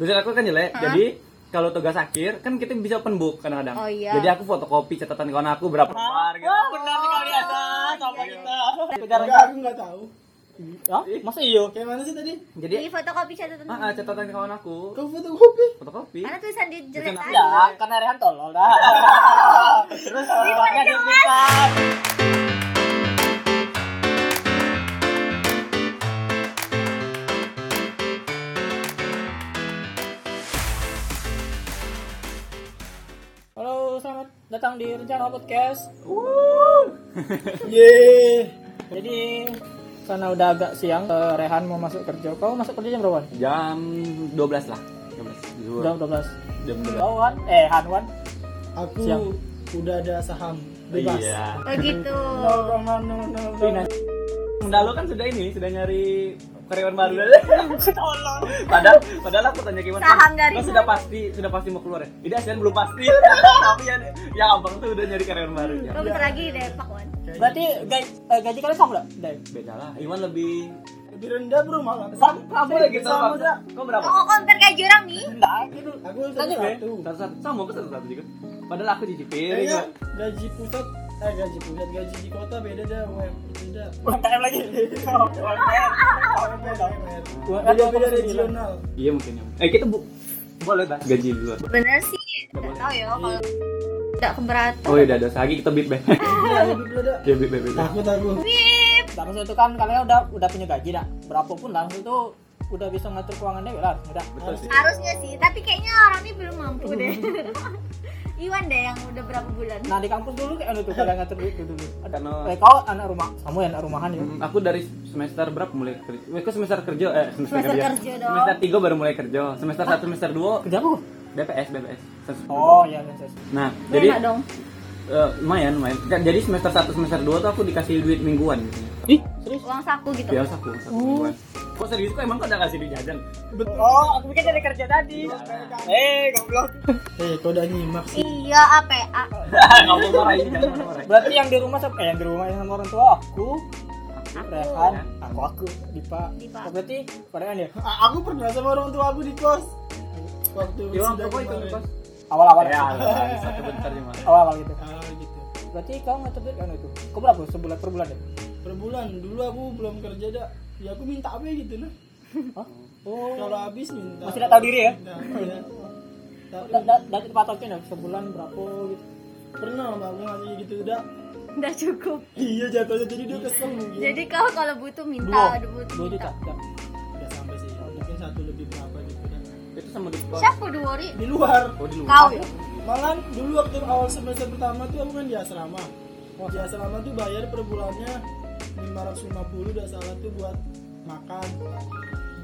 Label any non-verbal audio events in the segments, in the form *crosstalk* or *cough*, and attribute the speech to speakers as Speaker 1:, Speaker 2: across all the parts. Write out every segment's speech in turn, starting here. Speaker 1: dosen aku kan jelek jadi kalau tugas akhir kan kita bisa open book kadang-kadang
Speaker 2: Oh, iya.
Speaker 1: jadi aku fotokopi catatan kawan aku berapa lembar gitu
Speaker 3: Benar sekali gitu. ada sama kita.
Speaker 4: Enggak, aku nggak tahu.
Speaker 3: iya, Hah? Masa iya? iyo?
Speaker 4: Kayak mana sih tadi?
Speaker 1: jadi
Speaker 2: Di fotokopi catatan.
Speaker 1: ah, ah, catatan kawan aku
Speaker 4: Kau fotokopi.
Speaker 1: fotokopi
Speaker 2: Karena tulisan dia jelek
Speaker 1: Tulisan
Speaker 2: aja.
Speaker 3: Ya, karena Rehan tolol *laughs* dah. Terus orangnya diminta. Halo, selamat datang di Rencana Podcast.
Speaker 4: Ye.
Speaker 3: Jadi karena udah agak siang, eh, Rehan mau masuk kerja. Kau masuk kerja jam berapa?
Speaker 1: jam 12 lah 12 Zuhur.
Speaker 3: Jam 12.
Speaker 1: jam
Speaker 3: Kau Wan? Eh, Han Wan.
Speaker 4: Aku
Speaker 3: Siap.
Speaker 4: udah ada saham
Speaker 1: 12
Speaker 4: bebas.
Speaker 1: iya
Speaker 2: Oh gitu.
Speaker 3: Fina.
Speaker 1: Bunda lo kan sudah ini sudah nyari karyawan baru *laughs* padahal padahal aku tanya Kiwan
Speaker 2: Saham
Speaker 1: "Kan,
Speaker 2: dari
Speaker 1: lo sudah
Speaker 2: mana?"
Speaker 1: pasti sudah pasti mau keluar ya tidak sih belum pasti tapi yang yang abang tuh udah nyari karyawan baru ya
Speaker 2: Kamu bentar lagi deh Pak Wan.
Speaker 3: Berarti gaji, eh, gaji kalian sama enggak? Dai.
Speaker 1: beda lah Iwan lebih
Speaker 4: Lebih rendah bro malah.
Speaker 3: Sama, sama
Speaker 1: Sama
Speaker 3: Kan, lagi
Speaker 1: gitu
Speaker 3: sama.
Speaker 1: Bang. Kau berapa
Speaker 2: Oh, compare kayak jurang nih.
Speaker 3: Enggak, gitu.
Speaker 4: Aku
Speaker 3: Tanya
Speaker 4: satu satu.
Speaker 1: satu satu sama aku satu satu juga padahal aku
Speaker 2: Iya,
Speaker 1: cicipin
Speaker 4: Kayaknya
Speaker 1: ya.
Speaker 4: gaji pusat eh gaji pusat gaji di kota beda dah UM beda.
Speaker 3: UMKM lagi.
Speaker 4: Beda beda regional.
Speaker 1: iya mungkin ya eh kita bu boleh bahas gaji dulu
Speaker 2: Bener sih. Gak tau ya kalau nggak keberatan.
Speaker 1: oh iya udah dosa lagi kita beat back
Speaker 4: Iya, lebih beda.
Speaker 1: ya beat back beat back.
Speaker 4: Takut aku.
Speaker 2: Wip.
Speaker 3: Langsung itu kan kalian udah udah punya gaji dah. Berapapun langsung itu udah bisa ngatur keuangan dewe lah, udah.
Speaker 1: betul sih
Speaker 2: Harusnya sih, tapi kayaknya orang ini belum mampu
Speaker 1: *laughs*
Speaker 2: deh. Iwan deh yang udah berapa bulan.
Speaker 3: Nah di kampus dulu kayak itu kalian ngatur duit dulu. Ada
Speaker 1: Karena-
Speaker 3: eh, kau anak rumah, kamu yang anak rumahan ya.
Speaker 1: Hmm, aku dari semester berapa mulai kerja? Aku semester kerja, eh semester,
Speaker 2: Semester kerja dong.
Speaker 1: Semester 3 baru mulai kerja. Semester 1, semester 2
Speaker 3: Kerja aku.
Speaker 1: BPS, BPS. Ses-
Speaker 3: Oh iya, iya, iya.
Speaker 1: Nah,
Speaker 2: Jadi,
Speaker 1: jadi
Speaker 2: enak dong.
Speaker 1: eh, lumayan, lumayan. Kan, Jadi semester 1, semester 2 tuh aku dikasih duit mingguan gitu.
Speaker 3: Ih, serius?
Speaker 2: Uang saku gitu.
Speaker 1: Biasa aku, satu mingguan. Kok serius kok emang kok udah kasih duit jajan? *laughs*
Speaker 3: Oh, aku pikir dari kerja tadi. Eh, goblok.
Speaker 4: Hei, kau udah nyimak sih.
Speaker 2: Iya, APA.
Speaker 1: Enggak mau marahin, jangan mau marahin.
Speaker 3: Berarti yang di rumah siapa? Eh, yang di rumah yang sama orang tua aku, Rehan, aku ya. aku, Dipa.
Speaker 2: Dipa.
Speaker 3: Oh, berarti kalian ya
Speaker 4: A- aku pernah sama orang tua aku di kos. Waktu
Speaker 1: Ya,
Speaker 4: wisuda
Speaker 1: kok itu
Speaker 4: kemarin.
Speaker 1: pas.
Speaker 3: awal-awal.
Speaker 1: Ya, lah, satu bentar cuma.
Speaker 3: Awal-awal gitu.
Speaker 4: Ah, gitu.
Speaker 3: Berarti kau ngatur duit kan itu? Kau berapa sebulan per bulan ya?
Speaker 4: Per bulan dulu aku belum kerja dah. Ya aku minta apa gitu nah.
Speaker 3: Hah? Oh.
Speaker 4: Kalau habis minta.
Speaker 3: Masih nggak tahu diri ya?
Speaker 4: Nah, iya. Tapi
Speaker 3: Da- da- Dari patokin ya sebulan berapa gitu.
Speaker 4: pernah lah aku ngasih gitu udah.
Speaker 2: Udah cukup.
Speaker 4: Iya jatuhnya jadi dia kesel mungkin.
Speaker 2: Jadi kau kalau butuh
Speaker 3: Dua,
Speaker 2: minta, butuh
Speaker 3: dua
Speaker 2: minta.
Speaker 3: juta. Ya.
Speaker 4: Udah sampai sih. Mungkin satu lebih berapa gitu kan.
Speaker 1: Itu sama di kos.
Speaker 2: Siapa dua ri?
Speaker 4: Di luar.
Speaker 1: Oh, di luar.
Speaker 2: Kau ya.
Speaker 4: Malah dulu waktu awal semester pertama tuh aku kan di asrama. Di asrama tuh bayar per bulannya 550 udah salah tuh buat makan.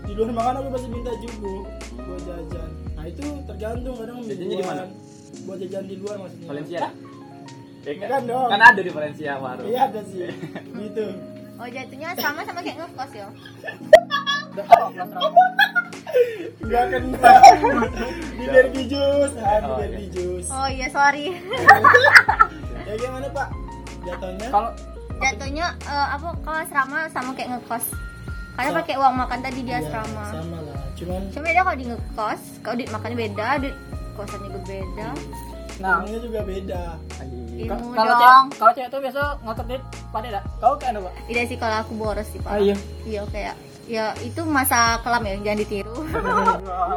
Speaker 4: Di luar makan aku masih minta juga buat jajan. Nah itu tergantung kadang mingguan.
Speaker 1: Jajannya di mana?
Speaker 4: Buat jajan di luar maksudnya.
Speaker 1: Valencia. dah? Ya,
Speaker 4: Bukan dong.
Speaker 1: Kan ada di Valencia baru.
Speaker 4: Iya ada sih. gitu.
Speaker 2: Oh jatuhnya sama sama kayak ngekos ya.
Speaker 4: Gak kena. di derby jus. Ah, di
Speaker 1: Oh,
Speaker 4: derby jus.
Speaker 2: Oh iya sorry. *laughs*
Speaker 4: Ya gimana Pak? Jatuhnya?
Speaker 3: Kalau
Speaker 2: jatuhnya eh, apa kalau asrama sama kayak ngekos. Karena
Speaker 4: Sa-
Speaker 2: pakai uang makan tadi di
Speaker 4: Iya,
Speaker 2: asrama.
Speaker 4: sama lah. Cuman
Speaker 2: Cuma beda kalau di ngekos, kalau duit makan beda, duit kosan juga beda.
Speaker 3: nah
Speaker 4: namanya juga beda.
Speaker 1: Ayo.
Speaker 3: ka-
Speaker 2: Ilmu
Speaker 3: kalau
Speaker 2: dong.
Speaker 3: cewek kalau cewek tuh biasa ngatur duit pada dak. Kau kayak apa?
Speaker 2: Tidak sih kalau aku boros sih
Speaker 3: Ah
Speaker 2: pak.
Speaker 3: iya.
Speaker 2: Iya kayak ya itu masa kelam ya jangan ditiru.
Speaker 3: *laughs*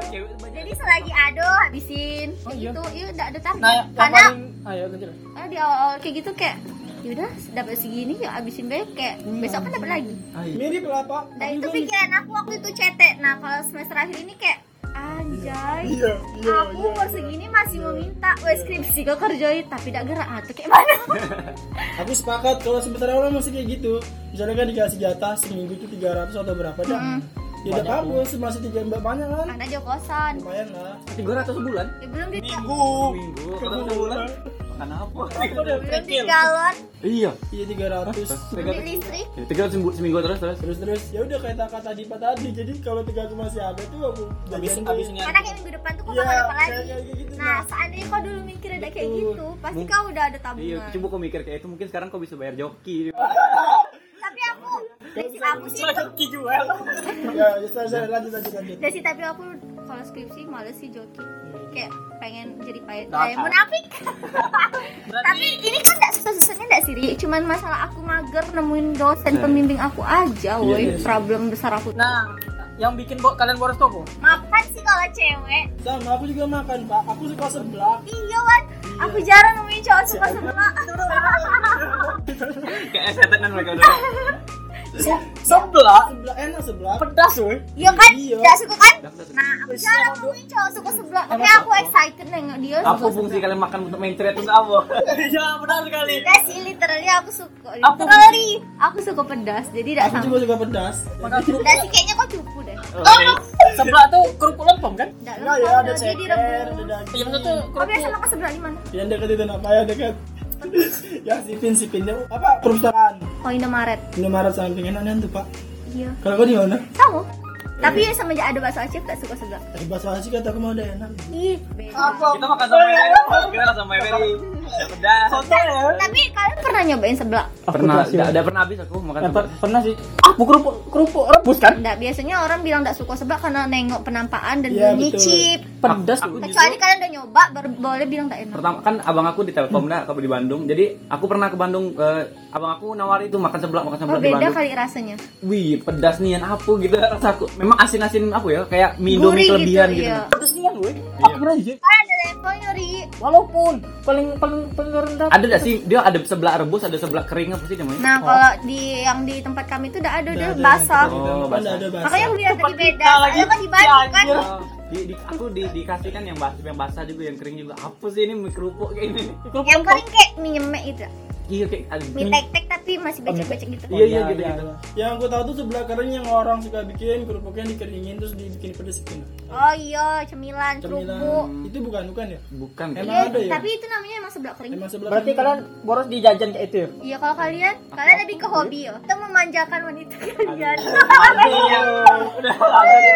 Speaker 3: Iya,
Speaker 1: Cewek tuh banyak.
Speaker 2: Jadi selagi aduh habisin.
Speaker 3: Oh,
Speaker 2: Kayak
Speaker 3: iya.
Speaker 2: gitu, iya tidak ada target.
Speaker 3: Nah, yang
Speaker 2: Karena
Speaker 3: paling ayo lanjut. lah.
Speaker 2: karena di awal kayak gitu kayak yaudah dapat segini ya habisin baik kayak
Speaker 3: Iya.
Speaker 2: besok kan dapat lagi.
Speaker 1: Ayo.
Speaker 4: Mirip lah Pak.
Speaker 2: Nah itu
Speaker 4: Juga
Speaker 2: pikiran aku waktu itu cetek. Nah kalau semester akhir ini kayak anjay.
Speaker 4: Iya, iya,
Speaker 2: aku
Speaker 4: iya,
Speaker 2: umur segini masih mau minta wes skripsi kau kerjain tapi tidak gerak atau kayak mana?
Speaker 4: Aku sepakat kalau sebenarnya orang masih kayak gitu. Misalnya kan dikasih jatah seminggu itu 300 atau berapa dah. Ya udah kamu semasa tiga mbak banyak kan?
Speaker 2: Anak jauh kosan.
Speaker 4: Lumayan lah.
Speaker 1: 300 sebulan.
Speaker 2: Ya, belum di
Speaker 4: Minggu.
Speaker 1: Minggu, kalau Oh. sebulan makan apa?
Speaker 2: belum di galon,
Speaker 1: Iya.
Speaker 4: Iya 300.
Speaker 2: belum di listrik.
Speaker 1: Tiga ratus seminggu, seminggu terus terus.
Speaker 4: Terus terus ya udah kayak kata Dipa tadi. Jadi kalau tiga aku masih ada tuh aku
Speaker 3: Habis
Speaker 4: jajan tuh.
Speaker 3: habisnya.
Speaker 2: Karena kayak minggu depan tuh kau
Speaker 4: Iya,
Speaker 2: bakal apa
Speaker 4: kayak-
Speaker 2: lagi?
Speaker 4: kayak gitu.
Speaker 2: Nah seandainya kau dulu mikir ada kayak
Speaker 4: Betul.
Speaker 2: gitu, pasti kau udah ada
Speaker 1: Iya,
Speaker 2: tabungan.
Speaker 1: coba kau mikir kayak itu mungkin sekarang kau bisa bayar *laughs* joki.
Speaker 2: Tapi aku, prinsip aku sih,
Speaker 3: Cuma jual.
Speaker 4: Ya, ya, saya lanjut lanjut lanjut.
Speaker 2: dari tapi aku kalau skripsi males sih joki
Speaker 4: Hmm.
Speaker 2: kayak pengen jadi pahit
Speaker 1: Nakal.
Speaker 2: kayak munafik tapi ini kan gak susah-susahnya gak sih Ri? cuman masalah aku mager nemuin dosen
Speaker 1: Nah.
Speaker 2: pembimbing aku aja woi
Speaker 1: iya, iya.
Speaker 2: problem besar aku
Speaker 3: Nah, yang bikin bo- kalian boros tuh apa?
Speaker 2: makan sih kalau cewek
Speaker 4: sama aku juga makan pak aku suka seblak
Speaker 2: iya wan aku jarang nemuin cowok suka sama
Speaker 1: kayak estetan mereka udah
Speaker 3: Sebelah,
Speaker 4: seblak enak seblak
Speaker 3: pedas woy.
Speaker 2: *laughs* iya kan
Speaker 4: Iya.
Speaker 2: gak suka kan
Speaker 1: Gak suka.
Speaker 2: nah aku jarang nemuin cowok suka sebelah tapi aku excited nengok dia
Speaker 1: apa
Speaker 2: suka
Speaker 1: fungsi
Speaker 2: sebelah.
Speaker 1: kalian makan untuk main thread untuk apa
Speaker 3: Iya, benar sekali.
Speaker 2: Guys, sih literally aku suka
Speaker 3: Apa?
Speaker 2: literally aku suka pedas jadi gak
Speaker 4: aku
Speaker 2: sama
Speaker 4: juga suka pedas
Speaker 3: Makasih. Eh,
Speaker 2: Udah sih kayaknya kok cupu deh.
Speaker 3: Oh, iya. Sebelah tuh kerupuk lempem kan?
Speaker 2: Enggak
Speaker 4: enggak ya ada ceker ada
Speaker 3: Iya,
Speaker 4: daging
Speaker 3: bener tuh
Speaker 2: Oh biasa
Speaker 3: kerupuk.
Speaker 2: makan sebelah di mana?
Speaker 4: yang dekat itu apa ya dekat *laughs* ya sipin sipinnya apa perpustakaan
Speaker 2: Oh Indomaret.
Speaker 4: Indomaret samping enak tuh pak
Speaker 2: Iya.
Speaker 4: kalau kau di mana
Speaker 2: Tahu? Tapi
Speaker 4: Iya.
Speaker 2: semenjak ada bakso aci gak suka sebelah.
Speaker 4: Tadi bahasa asyik kata aku mau ada enak
Speaker 2: Ih, beda.
Speaker 1: kita makan sama Mary kita makan sama Mary udah pedas
Speaker 4: ya?
Speaker 2: Tapi kalian pernah nyobain sebelah?
Speaker 1: pernah udah pernah habis aku makan sama
Speaker 3: Eh, pernah sih. Ah, bu kerupuk kerupuk rebus kan?
Speaker 2: Enggak, biasanya orang bilang gak suka sebelah karena nengok penampakan dan
Speaker 4: Iya,
Speaker 2: bunyi
Speaker 4: betul. ya?
Speaker 2: chip.
Speaker 3: Pedas
Speaker 1: Aku-
Speaker 3: tuh.
Speaker 2: Kecuali kalian udah nyoba baru boleh bilang tak enak.
Speaker 1: pertama kan abang aku di Telkom dah kalau di Bandung jadi aku pernah ke Bandung eh, abang aku nawari itu makan seblak makan seblak
Speaker 2: Oh,
Speaker 1: di
Speaker 2: beda
Speaker 1: Bandung
Speaker 2: kali rasanya.
Speaker 1: wih pedas nian apa gitu rasa aku memang asin asin apa ya kayak mie
Speaker 2: Gurih
Speaker 1: Indomie
Speaker 2: gitu,
Speaker 1: kelebihan gitu,
Speaker 2: iya.
Speaker 3: Pedas nih kan woy. Aku pernah sih.
Speaker 2: Kalian ada level nyuri.
Speaker 3: Walaupun paling paling paling rendah.
Speaker 1: ada gak sih dia ada seblak rebus ada seblak kering apa sih namanya
Speaker 2: Nah, kalau di yang di tempat kami itu udah ada udah
Speaker 4: Ada,
Speaker 2: basah.
Speaker 1: Oh. ada.
Speaker 4: ada,
Speaker 1: Oh, basah.
Speaker 4: ada basah
Speaker 2: Makanya aku bilang tadi beda.
Speaker 3: kita lagi.
Speaker 2: Soalnya kan di Bandung kan.
Speaker 3: Ya,
Speaker 1: Oh, di, di- aku di, dikasih kan yang basah yang basah juga yang kering juga apa sih ini mie kerupuk kayak ini
Speaker 3: Kerupuk
Speaker 2: Yang
Speaker 3: lempem.
Speaker 2: kering kayak mie nyemek itu.
Speaker 1: iya kayak ada
Speaker 2: mie
Speaker 4: Hmm.
Speaker 2: tek-tek tapi masih becek-becek gitu
Speaker 1: iya iya
Speaker 3: Oh,
Speaker 1: gitu
Speaker 3: iya,
Speaker 1: gitu
Speaker 3: iya.
Speaker 4: yang aku tahu tuh sebelah kering yang orang suka bikin kerupuknya dikeringin terus dibikin pedes gitu
Speaker 2: oh iya cemilan kerupuk
Speaker 4: cemilan itu bukan bukan ya
Speaker 1: bukan kayak
Speaker 4: Emang
Speaker 2: iya
Speaker 4: ada ya?
Speaker 2: tapi itu namanya emang seblak kering
Speaker 4: emang sebelah
Speaker 3: Berarti
Speaker 4: kering.
Speaker 3: kalian boros di jajan kayak itu ya?
Speaker 2: iya kalau kalian kalian lebih ke hobi ya kita memanjakan wanita *laughs* kalian
Speaker 1: udah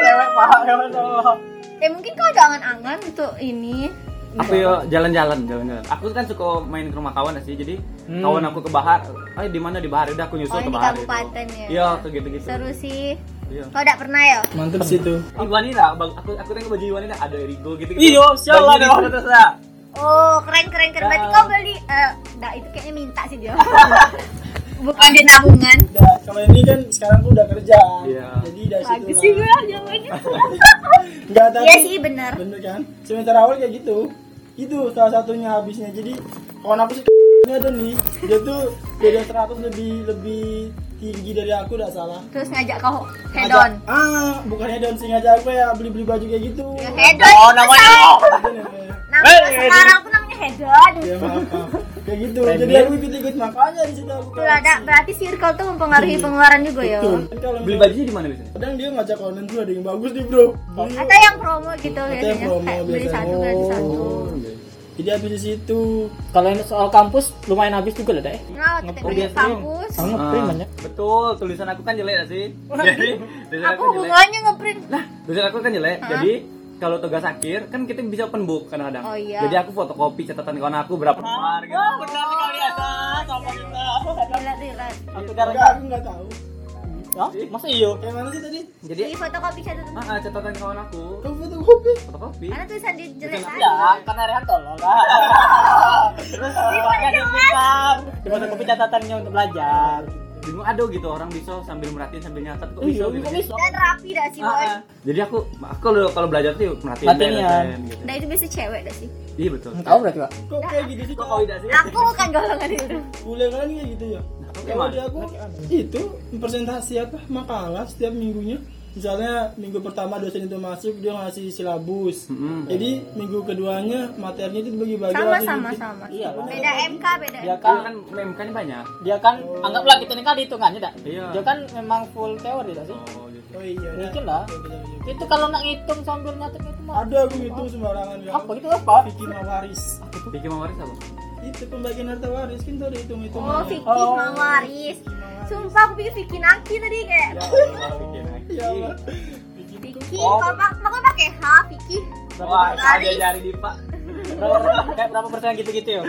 Speaker 3: Cewek paham ya Allah.
Speaker 2: ya mungkin kau ada angan-angan untuk ini
Speaker 1: aku
Speaker 3: Iya.
Speaker 1: yo jalan-jalan jalan-jalan aku kan suka main ke rumah kawan sih jadi
Speaker 3: Hmm.
Speaker 1: kawan aku ke Bahar eh di mana di Bahar udah aku nyusul
Speaker 2: Oh,
Speaker 1: ke
Speaker 2: yang di
Speaker 1: Bahar
Speaker 2: kabupaten ya?
Speaker 1: iya ke gitu gitu
Speaker 2: seru sih
Speaker 1: iya
Speaker 2: kau udah pernah ya
Speaker 4: mantep sih tuh
Speaker 1: Iwanira, bang- aku aku tengok baju Iwanira ada Erigo gitu gitu.
Speaker 3: Iya, sial lah, dong.
Speaker 1: Terus lah.
Speaker 2: oh keren keren keren berarti
Speaker 1: Ya.
Speaker 2: kau beli eh nah itu kayaknya minta sih
Speaker 4: *laughs*
Speaker 2: dia bukan dia nabungan
Speaker 4: Udah, kalau ini kan sekarang tuh udah kerja
Speaker 1: Iya.
Speaker 4: jadi dari situ
Speaker 2: bagus sih gitu. gue jawabannya
Speaker 4: *laughs* Enggak tapi
Speaker 2: iya sih bener
Speaker 4: bener kan semester awal kayak gitu itu salah satunya habisnya jadi kawan *laughs* aku sih ada nih dia tuh beda 100 lebih lebih tinggi dari aku tidak salah
Speaker 2: terus ngajak kau head
Speaker 4: Ngajak-
Speaker 2: on
Speaker 4: ah bukan head on sengaja aku ya beli beli baju kayak gitu
Speaker 2: Ya, head on
Speaker 3: Oh,
Speaker 2: itu
Speaker 3: namanya.
Speaker 2: salah.
Speaker 4: Itu namanya.
Speaker 2: Namanya sekarang tuh namanya head on
Speaker 4: ya maaf maaf. kayak gitu
Speaker 3: Keren
Speaker 4: jadi
Speaker 3: ya.
Speaker 4: aku ikut ikut makanya di situ aku
Speaker 2: Betul ada berarti circle tuh mempengaruhi pengeluaran juga ya.
Speaker 4: Betul. Kan kalau
Speaker 1: Beli bajunya di mana biasanya?
Speaker 4: kadang dia ngajak online tuh ada yang bagus nih bro Beli.
Speaker 2: Atau yang promo gitu
Speaker 4: yang
Speaker 2: biasanya
Speaker 4: promo
Speaker 2: kayak beli
Speaker 4: biasanya.
Speaker 2: satu gratis satu.
Speaker 4: jadi habis di situ
Speaker 3: Kalau yang soal kampus lumayan habis juga lah deh.
Speaker 2: Nah, waktu kita
Speaker 1: Oh,
Speaker 2: kerja
Speaker 1: biasanya.
Speaker 2: kampus,
Speaker 3: Kamu ngeprint
Speaker 1: Ah,
Speaker 3: banyak.
Speaker 1: betul, tulisan aku kan jelek gak sih? Jadi, tulisan
Speaker 2: aku
Speaker 1: aku jelek.
Speaker 2: hubungannya ngeprint.
Speaker 1: Nah, tulisan aku kan jelek. Jadi, kalau tugas akhir kan kita bisa open book kadang-kadang.
Speaker 2: Oh, iya.
Speaker 1: Jadi aku fotokopi catatan kawan aku berapa nomor gitu.
Speaker 2: Oh,
Speaker 3: Benar sekali ada sama kita.
Speaker 2: Relate, relate.
Speaker 3: Aku
Speaker 4: enggak
Speaker 3: gara-gara.
Speaker 4: aku nggak tahu
Speaker 3: Hah? Masa iya? iyo?
Speaker 4: yang mana sih tadi
Speaker 1: Jadi,
Speaker 2: Di fotokopi catatan.
Speaker 1: ah, ah, catatan kawan aku
Speaker 4: kau foto kopi
Speaker 1: fotokopi.
Speaker 2: Karena tulisan di jelek
Speaker 1: Bukan
Speaker 2: tadi.
Speaker 3: Ya, karena Rehan tolol lah. Terus ada yang pintar. Cuma kopi catatannya untuk belajar.
Speaker 1: Bingung aduh gitu orang bisa sambil merhatiin sambil nyatet kok
Speaker 3: Iya,
Speaker 1: bisa
Speaker 3: kok
Speaker 1: gitu.
Speaker 3: bisa?
Speaker 2: Dan rapi dah sih,
Speaker 1: Ah,
Speaker 2: boy.
Speaker 1: ah. Jadi aku aku kalau kalau belajar tuh merhatiin
Speaker 3: Merhatiin ya.
Speaker 1: dosen, gitu.
Speaker 2: Nah, itu biasa cewek dah sih.
Speaker 1: Iya betul.
Speaker 3: Tahu berarti, Pak?
Speaker 4: kok kayak gitu sih
Speaker 1: Kok
Speaker 4: kok
Speaker 1: kau tidak sih?
Speaker 2: Aku bukan golongan itu.
Speaker 4: kuliah kalian kayak gitu ya
Speaker 1: gimana?
Speaker 4: kalau di aku itu presentasi apa makalah setiap minggunya misalnya minggu pertama dosen itu masuk dia ngasih silabus
Speaker 1: Mm-mm.
Speaker 4: jadi minggu keduanya materinya itu dibagi-bagi
Speaker 2: Sama
Speaker 4: langsung
Speaker 2: sama
Speaker 4: bikin.
Speaker 2: sama.
Speaker 3: Iya, Pak.
Speaker 2: Beda MK, beda.
Speaker 3: Dia
Speaker 1: Kan
Speaker 3: kan
Speaker 1: kan mem kan banyak.
Speaker 3: dia kan anggaplah kita nikah dihitungannya dah.
Speaker 1: Iya.
Speaker 3: Dia kan memang full teori dah sih.
Speaker 1: Oh, gitu.
Speaker 4: oh iya iya.
Speaker 3: Mungkin lah.
Speaker 4: Iya, iya, iya.
Speaker 3: Itu kalau nak ngitung sambil nyatet itu mah
Speaker 4: ada aku itu sembarangan ya
Speaker 3: apa gitu apa?
Speaker 4: bikin waris
Speaker 1: Bikin memoris apa?
Speaker 4: itu pembagian harta waris kan tuh dihitung hitung
Speaker 2: Oh, fikih mawaris. Sumpah aku pikir fikih naki tadi kayak
Speaker 4: ya Allah.
Speaker 3: Iya,
Speaker 1: Oh.
Speaker 2: fikih. Kok pakai H, fikih.
Speaker 1: Wah, ada
Speaker 2: Waris.
Speaker 1: jari di Pak.
Speaker 3: berapa, kayak berapa persen gitu-gitu ya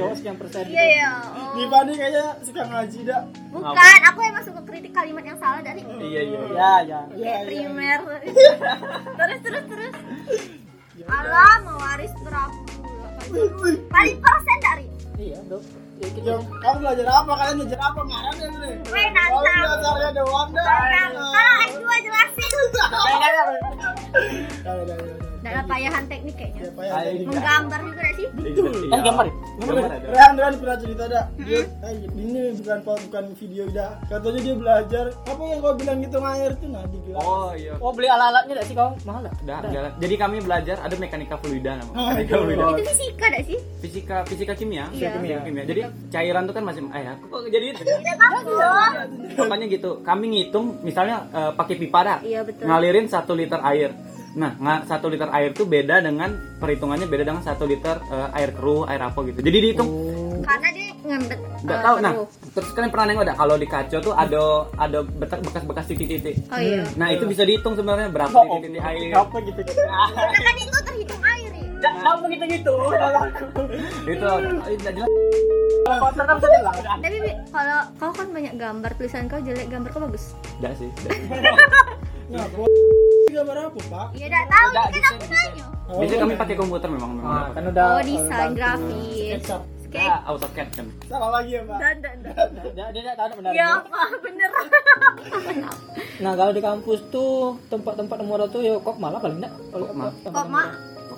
Speaker 3: cowok sekian persen gitu.
Speaker 2: Iya ya.
Speaker 4: Di Fani kayaknya suka ngaji dak.
Speaker 2: Bukan, aku emang suka kritik kalimat yang salah dari
Speaker 1: Iya iya. iya.
Speaker 3: ya ya
Speaker 2: kayak
Speaker 1: *laughs*
Speaker 2: primer. terus terus terus.
Speaker 4: Ya
Speaker 2: Allah mewaris berapa? Paling persen dari.
Speaker 3: iya dok ya, kita
Speaker 4: Yang kamu belajar apa? Kalian belajar apa? Marah ya nih.
Speaker 2: Weh, nantang.
Speaker 4: Kalau belajarnya doang dah.
Speaker 2: Tentang kalau S2 jelasin.
Speaker 4: Ya, ya, ya, ya.
Speaker 2: Nggak ada payahan teknik kayaknya.
Speaker 4: Ya, Pak, ya, ya.
Speaker 2: Menggambar juga nggak sih?
Speaker 3: eh gambar ya?
Speaker 1: gitu, iya. Gambar ada.
Speaker 4: Rehan, Rehan pernah cerita dah. Dia, eh, ini bukan bukan video dah. Katanya dia belajar apa yang kau bilang ngitung air itu nah di gelas.
Speaker 1: Oh iya.
Speaker 3: oh beli alat-alatnya gak sih kau mahal gak?
Speaker 1: Dah, jalan. Jadi kami belajar ada mekanika fluida namanya.
Speaker 4: Oh,
Speaker 1: Mekanika
Speaker 4: iya.
Speaker 1: fluida.
Speaker 2: Itu fisika nggak sih?
Speaker 1: Fisika fisika kimia.
Speaker 2: Iya.
Speaker 1: Fisika kimia. Jadi cairan tuh kan masih eh aku kok jadi
Speaker 2: Tidak
Speaker 1: Iya,
Speaker 2: bagus.
Speaker 1: Pokoknya gitu. Kami ngitung misalnya eh, pakai pipa dah.
Speaker 2: Iya, betul.
Speaker 1: Ngalirin satu liter air. Nah, nga- satu liter air tuh beda dengan perhitungannya beda dengan satu liter eh, air keruh, air apa gitu. Jadi dihitung
Speaker 2: Oh. Karena dia ngembet.
Speaker 1: nggak
Speaker 2: eh,
Speaker 1: tahu nah
Speaker 2: terus.
Speaker 1: terus kalian pernah nengok dah kalau di kaca tuh ada ada bekas- bekas-bekas titik-titik
Speaker 2: Oh iya.
Speaker 1: nah itu bisa dihitung sebenarnya berapa
Speaker 3: Oh,
Speaker 1: titik-titik air
Speaker 3: apa gitu
Speaker 2: Karena kan itu terhitung air ya.
Speaker 3: kamu gitu-gitu
Speaker 1: itu eh, nggak jelas
Speaker 3: kan
Speaker 2: Tapi Bi, kalau kau kan banyak gambar tulisan kau jelek, gambar kau bagus.
Speaker 1: Nggak sih nggak sih.
Speaker 4: Nah, bo gambar apa, Pak?
Speaker 2: Iya, enggak tahu
Speaker 1: Nggak,
Speaker 2: ini kan
Speaker 1: desain,
Speaker 2: aku
Speaker 1: desain.
Speaker 2: nanya.
Speaker 4: Oh, Ah.
Speaker 1: biasanya kami pakai komputer memang memang
Speaker 3: kan udah
Speaker 2: Oh, desain grafis.
Speaker 4: Kecap.
Speaker 2: Sketch.
Speaker 1: Ah, AutoCAD kan
Speaker 4: Salah lagi ya, Pak.
Speaker 2: Dan dan dan.
Speaker 3: dia dia nggak tahu benar
Speaker 2: Ya apa bener.
Speaker 3: nah kalau di kampus tuh tempat-tempat nomor tuh ya kok malah paling enggak kalau
Speaker 1: Kokma.
Speaker 2: Kok mak?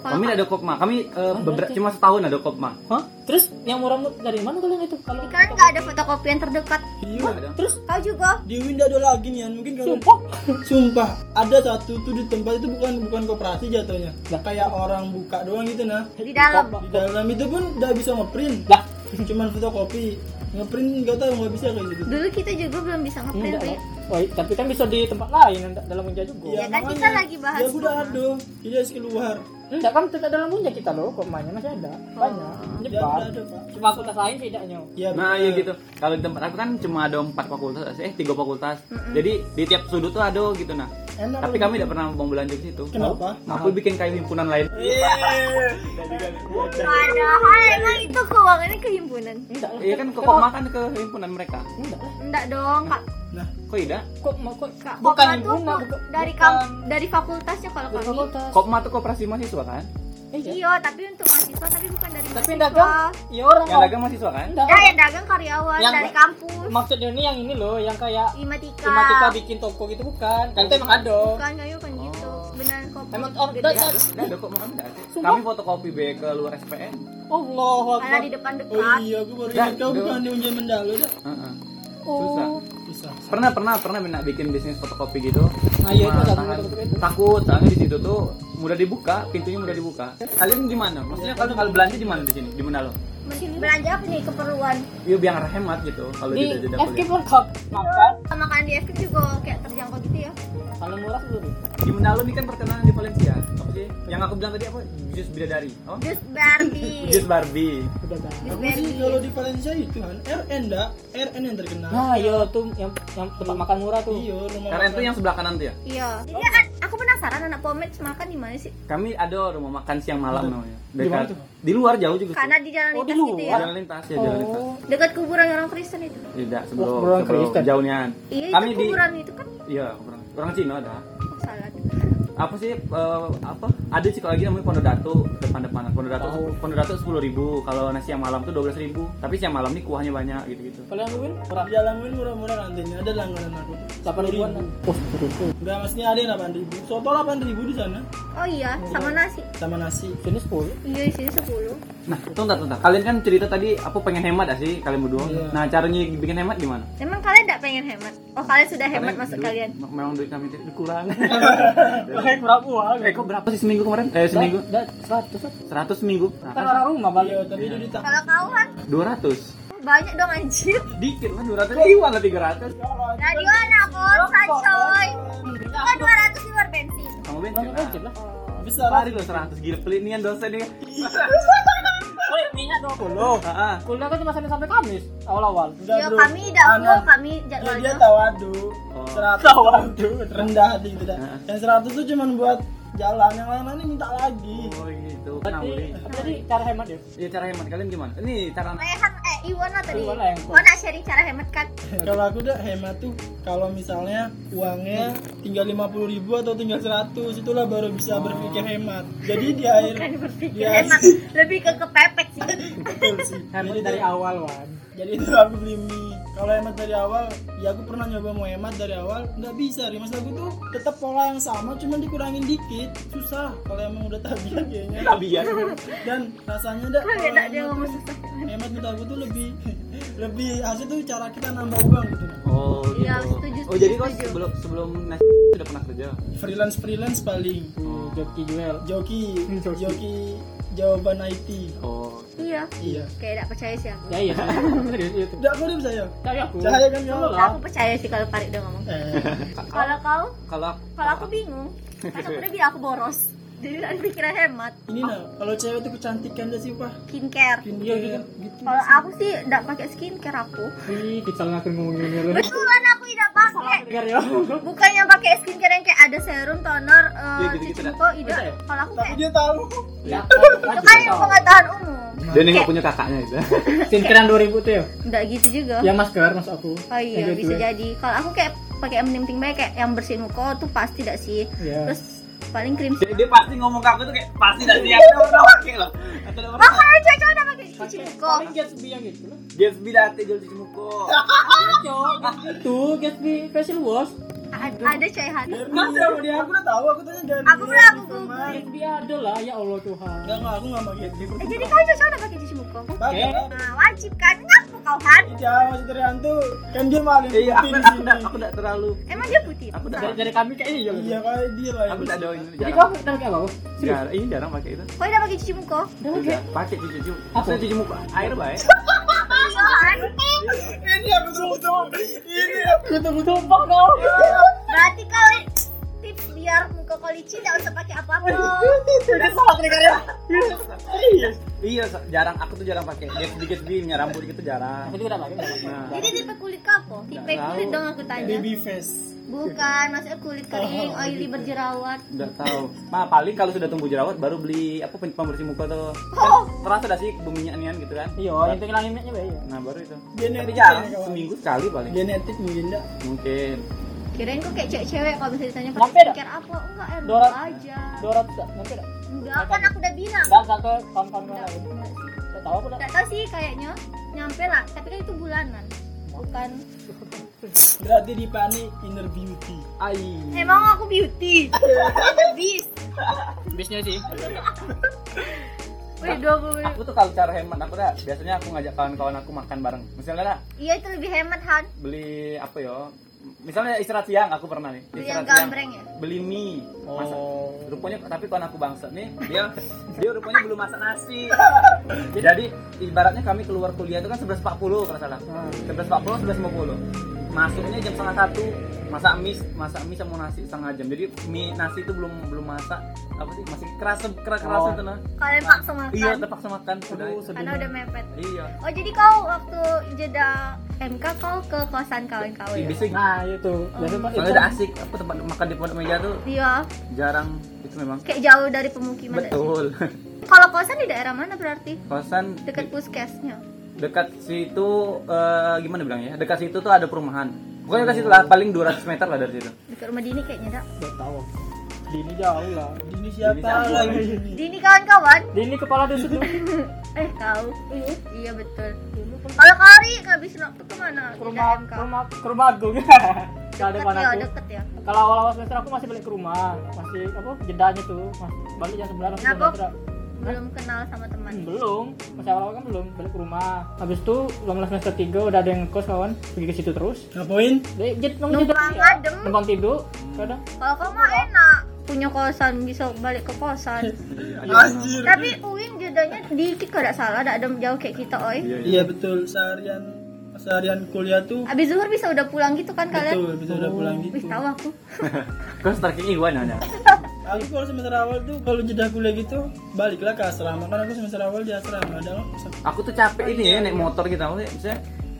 Speaker 1: kami nggak ada kopma kami eh,
Speaker 2: Oh,
Speaker 1: beberapa cuma setahun ada kopma
Speaker 3: Hah? Terus yang murah murah dari mana kalian itu? Kalau
Speaker 2: Kan nggak ada fotokopian terdekat.
Speaker 4: Iya.
Speaker 3: terus
Speaker 2: Kau juga.
Speaker 4: Di Winda ada lagi nih, Yan. mungkin kalau
Speaker 3: sumpah
Speaker 4: Sumpah, ada satu tuh di tempat itu bukan bukan koperasi jatuhnya.
Speaker 3: Lah.
Speaker 4: Kayak orang buka doang gitu nah.
Speaker 2: Di dalam.
Speaker 4: Di dalam itu pun udah bisa ngeprint.
Speaker 3: lah
Speaker 4: Cuman fotokopi. Ngeprint nggak tahu nggak bisa kayak gitu.
Speaker 2: Dulu kita juga belum bisa ngeprint.
Speaker 3: enggak
Speaker 2: Bi.
Speaker 3: lah. Wah, tapi kan bisa di tempat lain enggak dalam meja juga.
Speaker 2: Iya. kan kita lagi bahas
Speaker 4: Ya udah
Speaker 2: rumah.
Speaker 4: aduh, jadi harus keluar.
Speaker 3: Enggak kan tetap dalam meja kita loh, kok mainnya masih ada. Banyak.
Speaker 4: Ya
Speaker 3: Nyebar.
Speaker 4: udah ada pak.
Speaker 3: Cuma aku tas lain tidaknya.
Speaker 4: Ya,
Speaker 1: nah
Speaker 4: bener.
Speaker 1: iya gitu kalau di tempat aku kan cuma ada empat fakultas eh tiga fakultas jadi di tiap sudut tuh ada gitu nah
Speaker 4: Enak.
Speaker 1: tapi kami tidak pernah mau belanja di situ
Speaker 4: Kenapa?
Speaker 1: Nah, aku bikin kayak himpunan lain
Speaker 4: Yeay.
Speaker 2: Padahal emang itu keuangannya kehimpunan.
Speaker 3: Enggak lah.
Speaker 1: iya kan ke kopma kan ke himpunan mereka
Speaker 3: Enggak lah.
Speaker 2: Enggak dong, Kak.
Speaker 4: Nah,
Speaker 1: kok tidak
Speaker 3: Kok mau kok
Speaker 2: Kak,
Speaker 3: bukan
Speaker 2: Kopma tuh
Speaker 3: himpunan,
Speaker 2: pu-
Speaker 3: bukan-
Speaker 2: dari
Speaker 3: bukan-
Speaker 2: kam- dari fakultasnya kalau
Speaker 3: bukan
Speaker 2: kami.
Speaker 3: fakultas.
Speaker 1: Kopma tuh koperasi mahasiswa kan?
Speaker 3: Iya.
Speaker 2: Iya, tapi untuk mahasiswa tapi bukan dari
Speaker 3: Tapi yang
Speaker 2: mahasiswa.
Speaker 3: dagang ya orang.
Speaker 1: Yang dagang mahasiswa kan?
Speaker 3: Enggak.
Speaker 2: Ya, yang dagang karyawan
Speaker 3: Yang-
Speaker 2: dari kampus.
Speaker 3: Maksudnya ini yang ini loh, yang kayak
Speaker 2: Imatika.
Speaker 3: cuma kita bikin toko gitu bukan. Gitu ya. Kan itu emang ada.
Speaker 2: Bukan kayu kan gitu. Benar kok.
Speaker 3: Emang oh, orang
Speaker 2: Gede.
Speaker 3: enggak
Speaker 1: Nggak ada kok makan nggak ada.
Speaker 3: Sumpah.
Speaker 1: Kami fotokopi B ke luar SPM.
Speaker 3: Allah
Speaker 2: Malah di depan
Speaker 4: oh
Speaker 2: dekat.
Speaker 4: iya, aku baru
Speaker 1: Dah,
Speaker 4: ingat kau
Speaker 1: dulu.
Speaker 4: bukan di Unjian Mendalo dah.
Speaker 1: Heeh. Susah.
Speaker 3: Oh.
Speaker 4: Bisa.
Speaker 1: Pernah pernah pernah minta bikin bisnis fotokopi gitu.
Speaker 3: Nah, iya,
Speaker 1: Cuma
Speaker 3: itu jangan
Speaker 1: tangan-
Speaker 3: fotokopi itu.
Speaker 1: takut soalnya di situ tuh mudah dibuka, pintunya mudah dibuka. Kalian di mana? Maksudnya kalau kalau belanja di mana di sini? Di Menalo.
Speaker 2: Belanja apa nih keperluan?
Speaker 1: Iya biar hemat gitu kalau
Speaker 3: Di
Speaker 1: jeda-jeda
Speaker 3: FK
Speaker 1: kuliah.
Speaker 3: pun kok makan
Speaker 2: Makan di FK kan juga kayak terjangkau gitu ya.
Speaker 3: paling murah dulu.
Speaker 1: Di Menalo nih kan perkenalan di Valencia. Apa sih? Yang aku bilang tadi apa? Jus bidadari. Oh?
Speaker 2: Jus Barbie.
Speaker 1: *laughs* Jus Barbie.
Speaker 3: Udah bang.
Speaker 2: Jus
Speaker 4: Aku sih
Speaker 2: Barbie.
Speaker 4: kalau di Valencia itu kan RN dah, RN yang terkenal.
Speaker 3: Nah, yo tuh yang yang tempat makan murah tuh.
Speaker 4: Iya, rumah
Speaker 1: Karena itu yang sebelah kanan tuh ya.
Speaker 2: Iya. Jadi a- aku penasaran anak Pomets makan di mana sih?
Speaker 1: Kami ada rumah makan siang malam namanya.
Speaker 4: Di mana tuh?
Speaker 1: Di luar jauh juga.
Speaker 2: Karena di jalan
Speaker 3: Oh, di
Speaker 2: lintas gitu ya.
Speaker 3: luar.
Speaker 1: Jalan lintas ya, jalan lintas.
Speaker 3: Oh.
Speaker 2: Dekat kuburan orang Kristen itu.
Speaker 1: Tidak, sebelum
Speaker 4: Oh,
Speaker 3: Kuburan
Speaker 1: sebelum
Speaker 3: Kristen.
Speaker 1: jauhnya.
Speaker 2: Iya,
Speaker 1: Kami di
Speaker 2: itu kuburan itu kan
Speaker 1: Iya, kuburan. Orang Cina ada.
Speaker 2: oh, salah.
Speaker 1: Apa sih eh, apa? Ada sih kalau lagi namanya Pondok Datu depan-depan. Pondok Datu
Speaker 3: Tahu.
Speaker 1: Pondok Datu 10.000, kalau nasi siang malam tuh 12.000. Tapi siang malam nih kuahnya banyak gitu-gitu.
Speaker 3: Kalau yang Win murah
Speaker 4: di dalam ini murah-murah nantinya ada langganan aku.
Speaker 3: 8 ribuan. Oh,
Speaker 4: Enggak, maksudnya ada yang 8 ribu. Soto 8 ribu di sana
Speaker 2: Oh iya, sama nasi.
Speaker 4: sama nasi.
Speaker 3: sini 10.
Speaker 2: Iya, di sini 10.
Speaker 1: Nah, tunggu tunggu. Kalian kan cerita tadi aku pengen hemat gak sih kalian berdua?
Speaker 4: Iya.
Speaker 1: Nah, caranya bikin hemat gimana?
Speaker 2: Emang kalian tidak pengen hemat? Oh, kalian sudah hemat
Speaker 1: Karena
Speaker 2: masuk
Speaker 1: duit-
Speaker 2: kalian.
Speaker 1: me- Memang duit kami itu *laughs* kurang.
Speaker 3: Kayak murah uang.
Speaker 1: eh, kok berapa sih seminggu kemarin? Eh, seminggu.
Speaker 3: Dah 100.
Speaker 1: 100 seminggu. Nah,
Speaker 3: Kan orang rumah balik.
Speaker 4: Iya, tapi itu di tak.
Speaker 2: Kalau kau kan
Speaker 1: 200.
Speaker 2: banyak dong anjir.
Speaker 1: Dikit lah 200 Iwan lah 300
Speaker 2: Radio anak kosan coy. Kan Kok 200 di luar bensin?
Speaker 1: Kamu bensin
Speaker 3: Berapa
Speaker 1: lah
Speaker 3: wajib lah?
Speaker 4: Bisa lah.
Speaker 2: Iya,
Speaker 1: Lari lo 100 gila pelit nih yang dosen nih
Speaker 3: Woi, Oh, iya, minyak 20.
Speaker 1: Heeh.
Speaker 3: Kuliah kan cuma sampai sampai Kamis awal-awal.
Speaker 4: Enggak,
Speaker 2: Ya
Speaker 4: bro.
Speaker 2: kami tidak unggul,
Speaker 4: Anak-
Speaker 2: kami
Speaker 4: Ya, dia
Speaker 2: jadwalnya.
Speaker 4: tawadu.
Speaker 1: Oh.
Speaker 4: 100 tawadu *laughs* rendah hati gitu dah.
Speaker 1: Heeh.
Speaker 4: Yang 100 tuh cuman buat jalan yang lain-lain minta lagi
Speaker 1: Oh gitu. Nah,
Speaker 3: Berarti,
Speaker 1: boleh.
Speaker 3: berarti cara hemat ya?
Speaker 1: Ya cara hemat kalian gimana? Ini cara
Speaker 2: Rehan eh Iwana tadi.
Speaker 3: Iwana yang kuat.
Speaker 2: Iwana sharing cara hemat kan.
Speaker 4: kalau aku udah hemat tuh kalau misalnya uangnya tinggal 50.000 ribu atau tinggal 100 itulah baru
Speaker 3: Oh.
Speaker 4: bisa berpikir hemat jadi di akhir Iya,
Speaker 2: Bukan berpikir
Speaker 4: di akhir-
Speaker 2: hemat, lebih ke kepepet sih.
Speaker 4: betul sih
Speaker 3: Hemat
Speaker 4: Jadi
Speaker 3: dari
Speaker 4: itu-
Speaker 3: awal, Wan.
Speaker 4: jadi itu aku beli mie kalau hemat dari awal ya aku pernah nyoba mau hemat dari awal nggak bisa Rimas aku tuh tetap pola yang sama cuman dikurangin dikit susah kalau emang udah tabiat kayaknya
Speaker 1: tabiat.
Speaker 4: dan rasanya udah
Speaker 2: Kok enak dia ngomong susah.
Speaker 4: hemat menurut aku tuh lebih lebih asli tuh cara kita nambah uang gitu
Speaker 1: Oh gitu.
Speaker 2: Iya, setuju,
Speaker 1: oh jadi kau
Speaker 2: setuju.
Speaker 1: sebelum sebelum nas sudah pernah kerja.
Speaker 4: freelance freelance paling
Speaker 3: Bu Hmm, Joki Juel.
Speaker 4: Oh. joki
Speaker 3: Joki.
Speaker 4: Iya, joki jawaban IT
Speaker 1: Oh.
Speaker 2: Iya.
Speaker 4: iya
Speaker 2: Kayak enggak percaya sih aku.
Speaker 3: Ya iya. Serius itu.
Speaker 4: udah aku udah percaya
Speaker 3: Cahaya aku.
Speaker 4: Cahaya kan, ya.
Speaker 3: Kamu
Speaker 2: Nah,
Speaker 3: lah.
Speaker 2: Aku percaya sih kalau Farid udah ngomong.
Speaker 4: eh
Speaker 2: Kalau kau,
Speaker 1: Kalau
Speaker 2: kalau aku bingung. Kan aku udah bilang aku boros. Jadi kan pikiran hemat,
Speaker 4: ini nah kalau cewek tuh kecantikan aja sih pak
Speaker 2: skincare.
Speaker 4: Iya gitu
Speaker 2: Kalau aku sih enggak pakai skincare aku.
Speaker 3: Ih, kita ngakur ngomongin ini lu.
Speaker 2: Betulan aku tidak pakai.
Speaker 3: Dengar ya.
Speaker 2: Bukannya pakai skincare yang kayak ada serum, toner, eh,
Speaker 1: Iya, gitu-gitu
Speaker 2: cuci
Speaker 1: dah.
Speaker 2: muka, tidak.
Speaker 3: Udah ya?
Speaker 2: Kalau aku
Speaker 4: tapi
Speaker 2: kayak
Speaker 4: dia tahu
Speaker 3: Ya.
Speaker 2: itu kan yang pengetahuan umum.
Speaker 1: dia ini nggak punya kakaknya gitu. itu.
Speaker 3: Sinkiran 2000 tuh ya.
Speaker 2: Enggak gitu juga.
Speaker 1: Iya.
Speaker 3: Ya masker maksud aku.
Speaker 2: Oh iya
Speaker 3: Yang
Speaker 2: bisa
Speaker 3: Joki Juel.
Speaker 2: jadi. Kalau aku kayak pakai yang penting baik kayak yang bersihin muka tuh pasti tidak sih.
Speaker 3: Iya.
Speaker 2: Terus paling krim.
Speaker 1: dia, dia pasti ngomong ke aku tuh kayak pasti dah siap dia pernah pakai loh. Atau dia pernah
Speaker 2: Makanya cowok udah pakai cuci muka.
Speaker 3: Paling Gatsby yang itu
Speaker 2: *laughs*
Speaker 3: lah.
Speaker 1: Gatsby dah hati jual cuci muka.
Speaker 3: Cok, itu Gatsby facial wash.
Speaker 2: A- Ada caihan.
Speaker 4: Mas ya dia aku udah tahu aku tanya ganti
Speaker 2: Aku udah aku google.
Speaker 3: Gatsby ada lah ya Allah Tuhan.
Speaker 4: enggak enggak aku enggak pakai gitu
Speaker 2: Eh, jadi kau cowok udah pakai cuci muka.
Speaker 4: Pakai lah.
Speaker 2: Nah, wajib kan? Ngapu kau Han?
Speaker 4: Iya, Mas Terian tuh kan dia maling
Speaker 1: Iya, aku
Speaker 4: putih di
Speaker 1: aku
Speaker 4: sini.
Speaker 1: nggak
Speaker 4: *laughs*
Speaker 1: aku nggak terlalu
Speaker 2: Emang dia putih.
Speaker 1: Aku udah-
Speaker 3: Dari, dari kami kayaknya iya.
Speaker 4: Iya, kayak dia lah.
Speaker 1: aku nggak ada ini
Speaker 3: Jadi
Speaker 1: jarang.
Speaker 3: kamu kenal kayak apa? Serius?
Speaker 1: Jarang, ini jarang pakai itu.
Speaker 2: Kau udah pakai cuci muka?
Speaker 3: Udah oke.
Speaker 1: Nggak, Pakai cuci cuci.
Speaker 3: Apa?
Speaker 1: Maksudnya cuci muka air baik.
Speaker 2: Iya Han.
Speaker 4: Ini aku tunggu-tunggu. Ini
Speaker 2: Iya.
Speaker 3: *laughs* Aku tunggu tumpang dong.
Speaker 2: Berarti kau tips biar muka kau licin tidak usah pakai apa-apa.
Speaker 3: Udah salah kedengarannya. Serius.
Speaker 1: Iya, so- jarang aku tuh jarang pakai. Gatsby Gatsby punya rambut gitu jarang.
Speaker 3: Aku juga tidak pakai.
Speaker 1: Nah,
Speaker 2: Jadi tipe kulit kau apa? Tipe
Speaker 1: Nggak
Speaker 2: kulit
Speaker 1: tahu.
Speaker 2: dong aku tanya.
Speaker 4: baby face.
Speaker 2: Bukan, maksudnya kulit kering,
Speaker 1: Oh,
Speaker 2: oily
Speaker 1: gitu.
Speaker 2: berjerawat.
Speaker 1: Udah tahu. Nah, paling kalau sudah tumbuh jerawat baru beli apa pem- pembersih muka tuh.
Speaker 2: Oh.
Speaker 1: Kan terasa dah sih buminya-nian gitu kan.
Speaker 3: Iya, yang penting langit minyak juga iya.
Speaker 1: Nah, baru itu.
Speaker 4: Genetik
Speaker 1: Tapi jarang,
Speaker 4: ya, kawan.
Speaker 1: seminggu sekali paling.
Speaker 4: Genetik mungkin enggak.
Speaker 1: Mungkin.
Speaker 2: Kirain kok kayak cewek-cewek kalau misalnya ditanya
Speaker 3: Lampe
Speaker 2: pakai
Speaker 3: dah.
Speaker 2: skincare apa? Enggak, air muka
Speaker 3: Dorat.
Speaker 2: aja.
Speaker 3: 200 tak? Nanti tak?
Speaker 2: Enggak, kan aku udah bilang.
Speaker 3: Enggak, enggak ke kawan-kawan
Speaker 2: Enggak,
Speaker 3: lain.
Speaker 2: enggak sih.
Speaker 3: Tak tahu aku tak.
Speaker 2: Enggak tahu sih kayaknya nyampe lah, tapi kan itu bulanan. Bukan.
Speaker 4: Berarti di Pani inner beauty.
Speaker 1: Ai.
Speaker 2: Emang aku beauty. Habis.
Speaker 3: Bisnya sih.
Speaker 2: Wih, 20 menit.
Speaker 1: Aku tuh kalau cara hemat aku dah biasanya aku ngajak kawan-kawan aku makan bareng. Misalnya dah
Speaker 2: Iya itu lebih hemat Han.
Speaker 1: beli apa ya? Misalnya istirahat siang aku pernah nih.
Speaker 2: Beli yang
Speaker 1: Istirahat
Speaker 2: gambreng ya.
Speaker 1: beli mie masak.
Speaker 3: Oh.
Speaker 1: Rupanya tapi kawan aku bangsa
Speaker 2: *laughs*
Speaker 1: nih, dia dia rupanya belum masak nasi. Jadi ibaratnya kami keluar kuliah itu kan 11.40 kalau salah.
Speaker 3: Hmm.
Speaker 1: 11.40 11.50. Masuknya jam setengah satu, masak mie, masak mie sama nasi setengah jam. Jadi mie nasi itu belum belum masak apa sih masih kerasa keras kerasa
Speaker 3: Oh.
Speaker 1: tuh nah.
Speaker 2: Kalian paksa makan.
Speaker 1: Iya, terpaksa makan sudah.
Speaker 2: karena udah mepet.
Speaker 1: Iya.
Speaker 2: Oh jadi kau waktu jeda MK kau ke kosan kawan-kawan
Speaker 1: Ih,
Speaker 2: ya?
Speaker 1: Bising.
Speaker 3: Nah, itu. Biasa Pak.
Speaker 1: Soalnya udah asik apa tempat makan di pondok meja tuh
Speaker 2: Iya,
Speaker 1: jarang itu memang.
Speaker 2: kayak jauh dari pemukiman. nggak sih?
Speaker 1: Betul. *laughs*
Speaker 2: Kalau kosan di daerah mana berarti?
Speaker 1: Kosan
Speaker 2: Dekat puskesnya.
Speaker 1: dekat situ eh, gimana bilang ya dekat situ tuh ada perumahan pokoknya dekat situ lah paling 200 meter lah dari situ
Speaker 2: Dekat rumah Dini kayaknya, Dak.
Speaker 3: Enggak tahu. Dini jauh lah.
Speaker 4: Ini siapa
Speaker 1: siapa
Speaker 4: lagi
Speaker 1: lagi?
Speaker 3: Iya.
Speaker 4: ini?
Speaker 2: Dini kawan-kawan.
Speaker 3: Dini kepala dusun tuh.
Speaker 2: Eh, kau. Iya, betul. Kalau Kari habis waktu kemana?
Speaker 3: Ke rumah
Speaker 2: Jeda MK.
Speaker 3: ke rumah ke rumah *laughs* agung. Enggak ada
Speaker 2: Deket
Speaker 3: mana
Speaker 2: ya,
Speaker 3: aku.
Speaker 2: deket ya.
Speaker 3: Kalau awal-awal semester aku masih balik ke rumah, masih apa jedanya tuh, mas balik jam sembilan langsung
Speaker 2: Kenapa?
Speaker 3: berangkat.
Speaker 2: Belum kenal sama teman.
Speaker 3: Hmm, belum, masih awal-awal kan belum balik ke rumah. Habis itu ulang semester tiga udah ada yang kos kawan, pergi ke situ terus.
Speaker 4: Ngapain?
Speaker 3: Jadi jet
Speaker 2: Numpang
Speaker 3: ya.
Speaker 2: adem.
Speaker 3: numpang tidur, kadang.
Speaker 2: Kalau kau mah enak punya kosan bisa balik ke
Speaker 3: *laughs*
Speaker 2: kosan.
Speaker 4: Anjir.
Speaker 2: Tapi Uin jedanya dikit kalau tidak salah, tidak ada jauh kayak kita, oi.
Speaker 4: Iya betul seharian seharian kuliah tuh
Speaker 2: Abis zuhur bisa udah pulang gitu kan kalian?
Speaker 4: betul bisa udah pulang
Speaker 2: Wih,
Speaker 4: gitu.
Speaker 2: tahu aku.
Speaker 1: terus terakhirnya iguan ada
Speaker 4: Aku kalau semester awal tuh kalau jeda kuliah gitu baliklah ke asrama kan aku semester awal di asrama ada kosan.
Speaker 1: aku tuh capek ini ya naik motor gitu maksudnya misalnya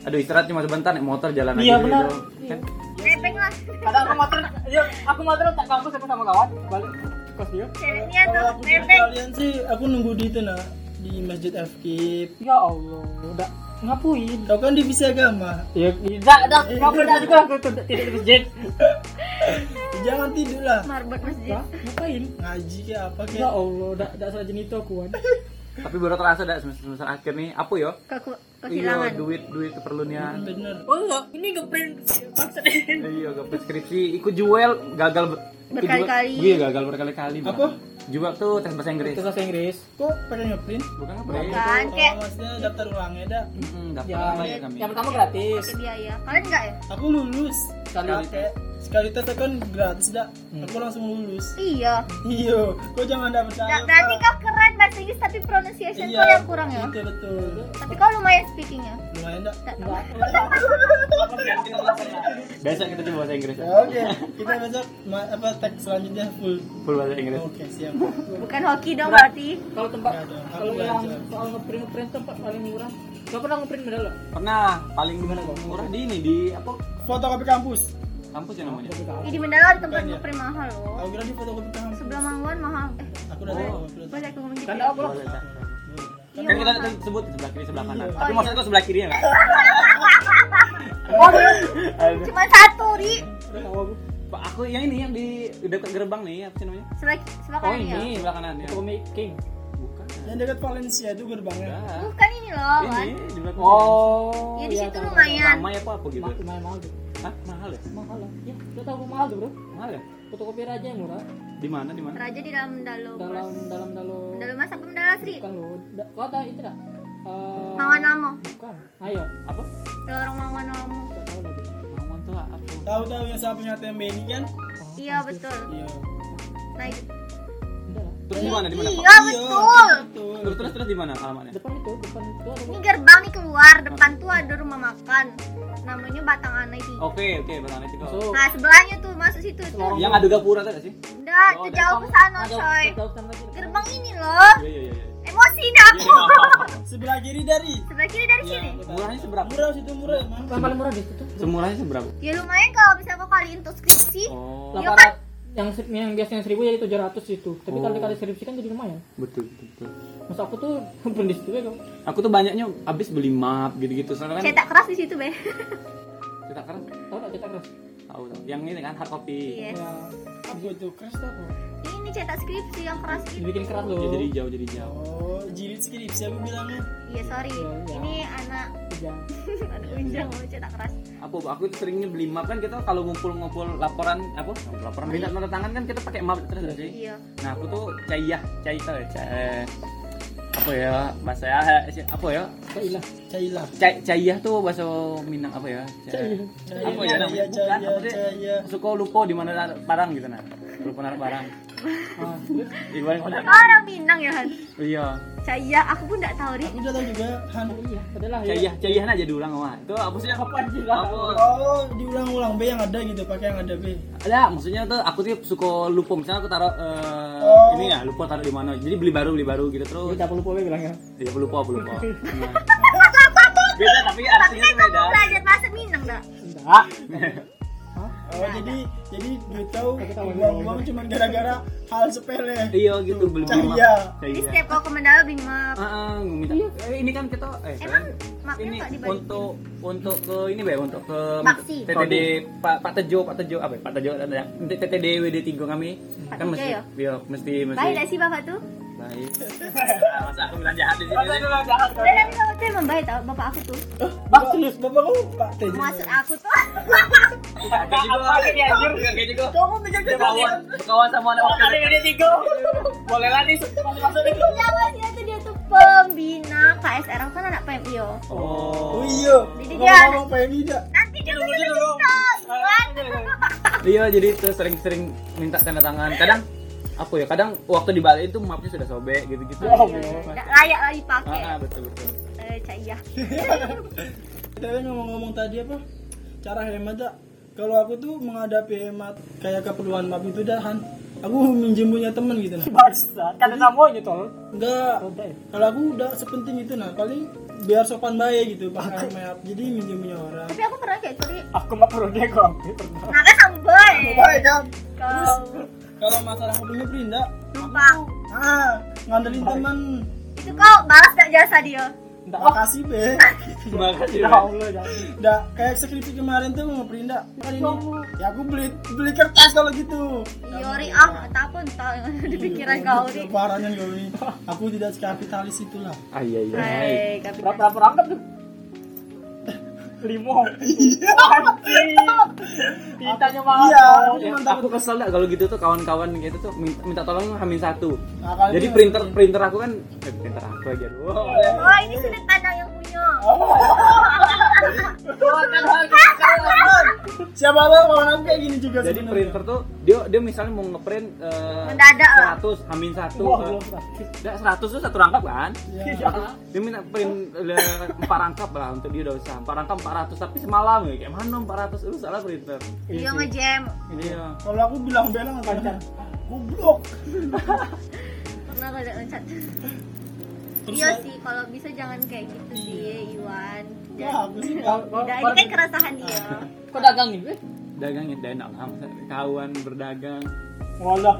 Speaker 1: aduh istirahat cuma sebentar naik motor jalan
Speaker 3: Iya,
Speaker 1: aja
Speaker 3: benar.
Speaker 1: gitu kan
Speaker 2: Nebeng lah.
Speaker 3: iya, Kadang aku motor, ya aku motor tak kampus aku sama kawan, balik ke kelas dia?
Speaker 2: ceweknya tuh
Speaker 4: Kalau aku jadi
Speaker 2: bebek
Speaker 4: kalian sih, aku nunggu di itu nak di masjid FKIP.
Speaker 3: Ya Allah, udah ngapuin.
Speaker 4: Kau kan divisi agama.
Speaker 3: Ya, tidak, tidak, nggak pernah juga aku tidak tidak di masjid.
Speaker 4: Jangan tidur lah.
Speaker 2: marbot masjid
Speaker 3: Hah? Ngapain?
Speaker 4: Ngaji kayak apa
Speaker 3: Ya
Speaker 4: kayak.
Speaker 3: Allah, tidak tidak salah jenis itu aku. kan.
Speaker 1: Tapi baru terasa dah semester, semester akhir nih. Apa yo?
Speaker 2: Keku-
Speaker 1: Iya,
Speaker 2: kehilangan
Speaker 1: duit duit keperluannya.
Speaker 4: Kan Bener.
Speaker 3: Oh enggak, ini ngeprint maksudnya.
Speaker 1: Iya, gak skripsi. Ikut jual gagal ber- ikut jual-
Speaker 2: Berkali-kali.
Speaker 1: Iya, gagal berkali-kali. Bang.
Speaker 4: Apa?
Speaker 1: Jual tuh tes bahasa Inggris.
Speaker 3: Itu bahasa Inggris.
Speaker 4: Kok pakai ngeprint?
Speaker 1: Bukan apa ya?
Speaker 2: kan kayak
Speaker 4: Oh, maksudnya daftar ulangnya dah.
Speaker 1: Mm-mm, Daftar
Speaker 3: Ya,
Speaker 1: apa ya kami?
Speaker 3: yang pertama gratis.
Speaker 2: pakai biaya kalian enggak ya
Speaker 4: Aku lulus.
Speaker 3: Sekali
Speaker 4: Pakai. Sekali tes aku kan gratis dah. Aku langsung lulus.
Speaker 2: iya
Speaker 4: Iyo, kau jangan dapat
Speaker 2: Nggak- berarti kau keren bahasa Inggris tapi pronunciation kau yang kurang ya
Speaker 4: Betul Gitu, betul.
Speaker 2: tapi kau lumayan speakingnya
Speaker 4: Lumayan dah.
Speaker 2: Nggak tahu.
Speaker 1: Besok kita coba bahasa Inggris.
Speaker 4: Ya, Oke, kita besok ma- apa tag selanjutnya full.
Speaker 1: Full bahasa Inggris.
Speaker 4: Oke, siap.
Speaker 2: bukan hoki dong berarti
Speaker 3: Kalau tempat
Speaker 4: Nggak ada, aku
Speaker 3: kalau
Speaker 4: nggak
Speaker 3: yang
Speaker 4: ada.
Speaker 3: soal ngeprint ngeprint tempat paling murah. Kau pernah ngeprint modal lo?
Speaker 1: Pernah paling murah di ini di apa?
Speaker 4: Fotokopi kampus.
Speaker 1: Kampus ya namanya.
Speaker 2: ini Mendala ada tempat ngeprim mahal loh
Speaker 4: Aku kira di fotokopi kampus.
Speaker 2: sebelah Mangwan mahal eh
Speaker 4: Aku udah tahu. aku udah tahu.
Speaker 2: boleh aku ngomong gitu
Speaker 3: Kan
Speaker 2: ya?
Speaker 3: aku lah.
Speaker 1: Kan kita sebut sebelah kiri sebelah kanan.
Speaker 4: Iya.
Speaker 1: Tapi maksudnya itu sebelah kiri ya nggak?
Speaker 2: cuma satu ri
Speaker 1: Pak, aku yang ini yang di dekat gerbang nih apa sih namanya?
Speaker 2: sebelah sebelah
Speaker 1: Oh
Speaker 2: kanan ya
Speaker 1: ini sebelah kanan ya.
Speaker 3: Komik King.
Speaker 1: Bukan.
Speaker 4: Yang dekat Valencia itu gerbangnya.
Speaker 1: Enggak.
Speaker 2: bukan ini loh Wan.
Speaker 1: Ini Iya, di belakang.
Speaker 3: Oh.
Speaker 2: ya di situ
Speaker 3: tahu.
Speaker 2: lumayan
Speaker 1: Ramai apa apa gitu?
Speaker 3: Ma- Lumayan mahal tuh.
Speaker 1: Hah? Mahal ya?
Speaker 3: Mahal lah. Ya, lo tahu mahal tuh bro?
Speaker 1: Mahal ya?
Speaker 3: Fotokopi aja yang murah.
Speaker 1: Di mana di mana?
Speaker 2: Raja di dalam Mendalo
Speaker 3: Dalam dalam dalo.
Speaker 2: Mendalo mas apa Mendalo Sri
Speaker 3: Bukan lo. Da- Kau tahu itu dah? Eh,
Speaker 2: Mangwan Lamo
Speaker 3: Bukan. Ayo.
Speaker 1: Apa?
Speaker 2: lorong Mangwan
Speaker 1: Oh,
Speaker 2: Lamo
Speaker 3: Nggak tahu lagi.
Speaker 1: Ngomong tuh apa?
Speaker 4: Tahu tahu yang saya punya ATM ini kan?
Speaker 2: iya betul
Speaker 4: Iya.
Speaker 2: naik
Speaker 3: Enggak lah.
Speaker 1: Terus di mana di mana? Pak?
Speaker 2: iya betul
Speaker 4: Betul.
Speaker 1: Terus terus terus di mana alamatnya?
Speaker 3: Depan itu, depan itu ada
Speaker 2: ini gerbang nih keluar depan tuh ada rumah makan namanya Batang Anai tiga
Speaker 1: Oke oke benar itu. kok.
Speaker 3: masuk.
Speaker 2: nah sebelahnya tuh masuk situ tuh
Speaker 1: Yang ada gapura tadi sih?
Speaker 2: udah
Speaker 1: Oh,
Speaker 2: tuh
Speaker 1: ada
Speaker 2: jauh ke sana coy
Speaker 3: Jauh ke sana lagi.
Speaker 2: gerbang ini loh
Speaker 1: Iya iya iya. iya.
Speaker 2: emosi nih aku
Speaker 4: Sebelah kiri dari.
Speaker 2: sebelah kiri dari
Speaker 4: Iya,
Speaker 2: sini
Speaker 4: aku tahu.
Speaker 1: Murahnya seberapa?
Speaker 4: Murah situ murah emang.
Speaker 3: Yang paling murah di situ tuh.
Speaker 2: Iya
Speaker 1: Semurahnya seberapa?
Speaker 2: ya lumayan kalau bisa kok kali untuk skripsi
Speaker 1: Oh,
Speaker 2: Iya,
Speaker 3: 800 yang se- yang biasanya 1000 jadi 700 itu. Tapi
Speaker 1: Oh.
Speaker 3: kalau dikali 1000 kan jadi lumayan.
Speaker 1: betul betul. betul.
Speaker 3: Masa aku tuh *laughs* beli situ ya kok.
Speaker 1: Aku tuh banyaknya abis beli map gitu-gitu. Soalnya kan
Speaker 2: cetak keras di situ be
Speaker 1: cetak keras
Speaker 3: Tahu enggak cetak keras?
Speaker 1: tahu tahu. Yang ini kan hard copy.
Speaker 2: yes
Speaker 3: Ya,
Speaker 4: Apa itu keras tuh apa?
Speaker 2: Iya. ini cetak skripsi yang keras gitu
Speaker 3: dibikin keras loh.
Speaker 1: Ya, jadi jauh jadi jauh.
Speaker 4: Oh, jilid skripsi aku bilangnya.
Speaker 2: iya sorry ini anak *laughs*
Speaker 3: Iya.
Speaker 2: anak unjang mau cetak keras
Speaker 1: Apa aku tuh seringnya beli map kan kita kalau ngumpul-ngumpul laporan apa? Laporan minta tanda tangan kan kita pakai map terus nggak sih.
Speaker 2: iya
Speaker 1: Nah, aku tuh caiyah, cai tau ya, cai- apa ya bahasa ya, apa ya?
Speaker 3: Kok ilah.
Speaker 4: Cailah.
Speaker 1: Cai caiyah tuh bahasa Minang apa ya? Cai- Apa ya namanya?
Speaker 4: Cailah,
Speaker 1: Bukan,
Speaker 4: cailah,
Speaker 1: apa sih?
Speaker 4: cailah.
Speaker 1: Suka lupa di mana naruh barang gitu nah. Lupa naruh barang.
Speaker 3: Ah, terus
Speaker 1: Di barang mana?
Speaker 2: kau orang Minang ya Han
Speaker 1: Iya.
Speaker 2: saya aku pun nggak tahu ri
Speaker 4: Aku udah tahu juga Han.
Speaker 3: iya, adalah ya.
Speaker 1: Caiyah, caiyah aja diulang wah. Itu apa sih apa anjing Apa?
Speaker 4: Oh, diulang-ulang B yang ada gitu, pakai yang ada B.
Speaker 1: Ada, maksudnya tuh aku tuh suka lupa misalnya aku taruh eh,
Speaker 4: Oh.
Speaker 1: ini ya, lupa taruh di mana. Jadi beli baru, beli baru gitu terus.
Speaker 3: Kita perlu powe bilangnya.
Speaker 1: Ya aku lupa, aku *laughs* lupa. Nah. beda tapi artinya tuh beda.
Speaker 2: kan
Speaker 1: Iya.
Speaker 2: belajar bahasa Minang nggak
Speaker 3: Enggak.
Speaker 4: Oh, jadi jadi gue tahu buang-buang cuma gara-gara hal sepele.
Speaker 1: Iya gitu beli beli map.
Speaker 4: Caiyah.
Speaker 2: di
Speaker 1: Caiyah.
Speaker 2: setiap kau ke Mandala beli map
Speaker 1: Ah, ah, gua minta. Eh, ini kan kita eh
Speaker 2: Iya. emang mapnya
Speaker 1: ini
Speaker 2: nggak dibalikin
Speaker 1: untuk untuk ke ini Bay, untuk ke
Speaker 2: Maksi.
Speaker 1: TTD Pak Pak Tejo, Pak Tejo apa ya? Pak Tejo ada untuk TTD WD 3 kami
Speaker 2: Pak
Speaker 1: kan
Speaker 2: Tejo
Speaker 1: mesti
Speaker 2: ya?
Speaker 1: iya, mesti mesti
Speaker 2: baik nggak sih bapak tuh *laughs*
Speaker 1: baik. Ah, Masa aku bilang jahat di sini.
Speaker 2: Udah tapi bapak tuh emang baik tau bapak aku tuh
Speaker 4: Bang, serius, bapak kamu Pak Tejo.
Speaker 2: maksud aku tuh
Speaker 1: *laughs* Kaget juga. Kaget
Speaker 2: gitu.
Speaker 1: juga.
Speaker 4: Kamu menjaga
Speaker 1: Kawan, gitu. kawan sama anak waktu.
Speaker 3: Boleh lah nih.
Speaker 2: itu jangan dia tuh dia tuh pembina KSR aku kan anak PMIO
Speaker 1: Oh.
Speaker 4: Oh iya,
Speaker 2: Jadi dia-
Speaker 4: ngomong-ngomong PMI dah.
Speaker 2: nanti dulu dulu dulu
Speaker 1: Iya, jadi itu sering-sering minta tanda tangan. Kadang apa ya? Kadang waktu di Bali itu mapnya sudah sobek gitu-gitu.
Speaker 2: nggak layak lagi pakai
Speaker 1: Ah, ah, betul betul.
Speaker 2: eh cahaya
Speaker 4: Tapi ngomong-ngomong tadi apa? Cara hemat dah. Kalau aku tuh menghadapi hemat kayak keperluan map itu dah Han. Aku minjem punya temen gitu nah.
Speaker 3: Basta. Kan kamu ini tol.
Speaker 4: Enggak,
Speaker 3: Udah ya.
Speaker 4: kalau aku udah sepenting itu nah paling biar sopan baik gitu pakai map. Jadi minjem punya orang.
Speaker 2: tapi aku pernah kayak itu Ri.
Speaker 3: Ya Aku mah perlu dia kok.
Speaker 2: nah kan sampai
Speaker 4: kan?
Speaker 2: kau
Speaker 4: kalau masalah kudunya Prinda
Speaker 2: lupa
Speaker 4: ah ngandelin teman
Speaker 2: itu kau balas gak jasa dia
Speaker 4: Nggak makasih be *laughs*
Speaker 1: Makasih.
Speaker 3: Ya Allah, jangan.
Speaker 4: Nggak kayak skripsi kemarin tuh mau Prinda kali ini ya aku beli beli kertas kalau gitu
Speaker 2: Yori ah tak pun tau di pikiran kau nih
Speaker 4: Parahnya kau ini aku tidak sekapitalis itulah
Speaker 1: Ah iya iya.
Speaker 2: Hai, kapitan.
Speaker 3: Berapa perangkap tuh? Limo. Anjing. Ditanya mahal.
Speaker 4: *laughs* Iya,
Speaker 3: dong.
Speaker 4: tapi
Speaker 1: Ya,
Speaker 4: cuma
Speaker 1: aku kesel dah kalau gitu tuh kawan-kawan gitu tuh min- minta tolong hamin satu.
Speaker 4: Nah, kali
Speaker 1: Jadi
Speaker 4: ini-
Speaker 1: printer printer aku kan eh, printer aku aja. Wow.
Speaker 2: oh ini sudut pandang yang punya
Speaker 4: siapa tahu kawan aku kayak gini juga
Speaker 1: Jadi
Speaker 4: sebenarnya.
Speaker 1: printer tuh dia dia misalnya mau ngeprint eh,
Speaker 2: Mendadak ah. lah.
Speaker 1: 100 hamin satu.
Speaker 3: Wah,
Speaker 1: eh,
Speaker 3: belum pernah.
Speaker 1: Enggak, 100 tuh satu rangkap kan?
Speaker 4: Iya.
Speaker 1: Dia minta print eh, empat rangkap lah untuk dia udah usah. Empat rangkap 400 tapi semalam ya kayak mana 400 lu salah printer.
Speaker 2: dia ngejam
Speaker 1: Iya.
Speaker 4: kalau aku bilang belang kan goblok
Speaker 2: pernah kau ada loncat
Speaker 4: Terus
Speaker 2: iya
Speaker 4: lagi.
Speaker 2: sih kalau bisa jangan kayak
Speaker 3: Hmm.
Speaker 2: gitu sih Iwan
Speaker 4: ya
Speaker 2: Dan-
Speaker 4: aku sih
Speaker 3: Kalau- kalau-
Speaker 2: dan ini
Speaker 3: kalau-
Speaker 2: kan kerasahan
Speaker 3: Ah,
Speaker 2: dia
Speaker 3: Kok gitu? dagangin? Be?
Speaker 1: Dagangnya dan ya, lah masa kawan berdagang.
Speaker 3: Ngolah.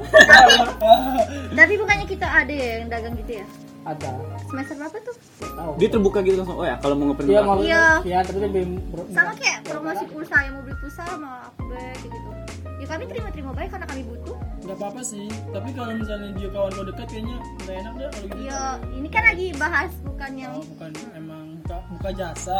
Speaker 2: tapi bukannya kita ada ya yang dagang gitu ya
Speaker 3: Ada.
Speaker 2: semester berapa tuh
Speaker 3: Tahu.
Speaker 1: Dia terbuka gitu langsung. Oh ya kalau mau ngeprint
Speaker 3: Iya,
Speaker 1: empat-
Speaker 3: mau.
Speaker 2: Iya.
Speaker 3: Iya, tapi dia belum ber-
Speaker 2: sama kayak promosi pulsa yang mau beli pulsa sama aku baik kayak gitu ya kami terima-terima baik karena kami butuh
Speaker 4: nggak apa apa sih tapi kalau misalnya dia kawan kau dekat kayaknya nggak enak deh kalau gitu
Speaker 2: ya ini kan lagi bahas bukan yang
Speaker 4: Oh, bukan emang buka, buka jasa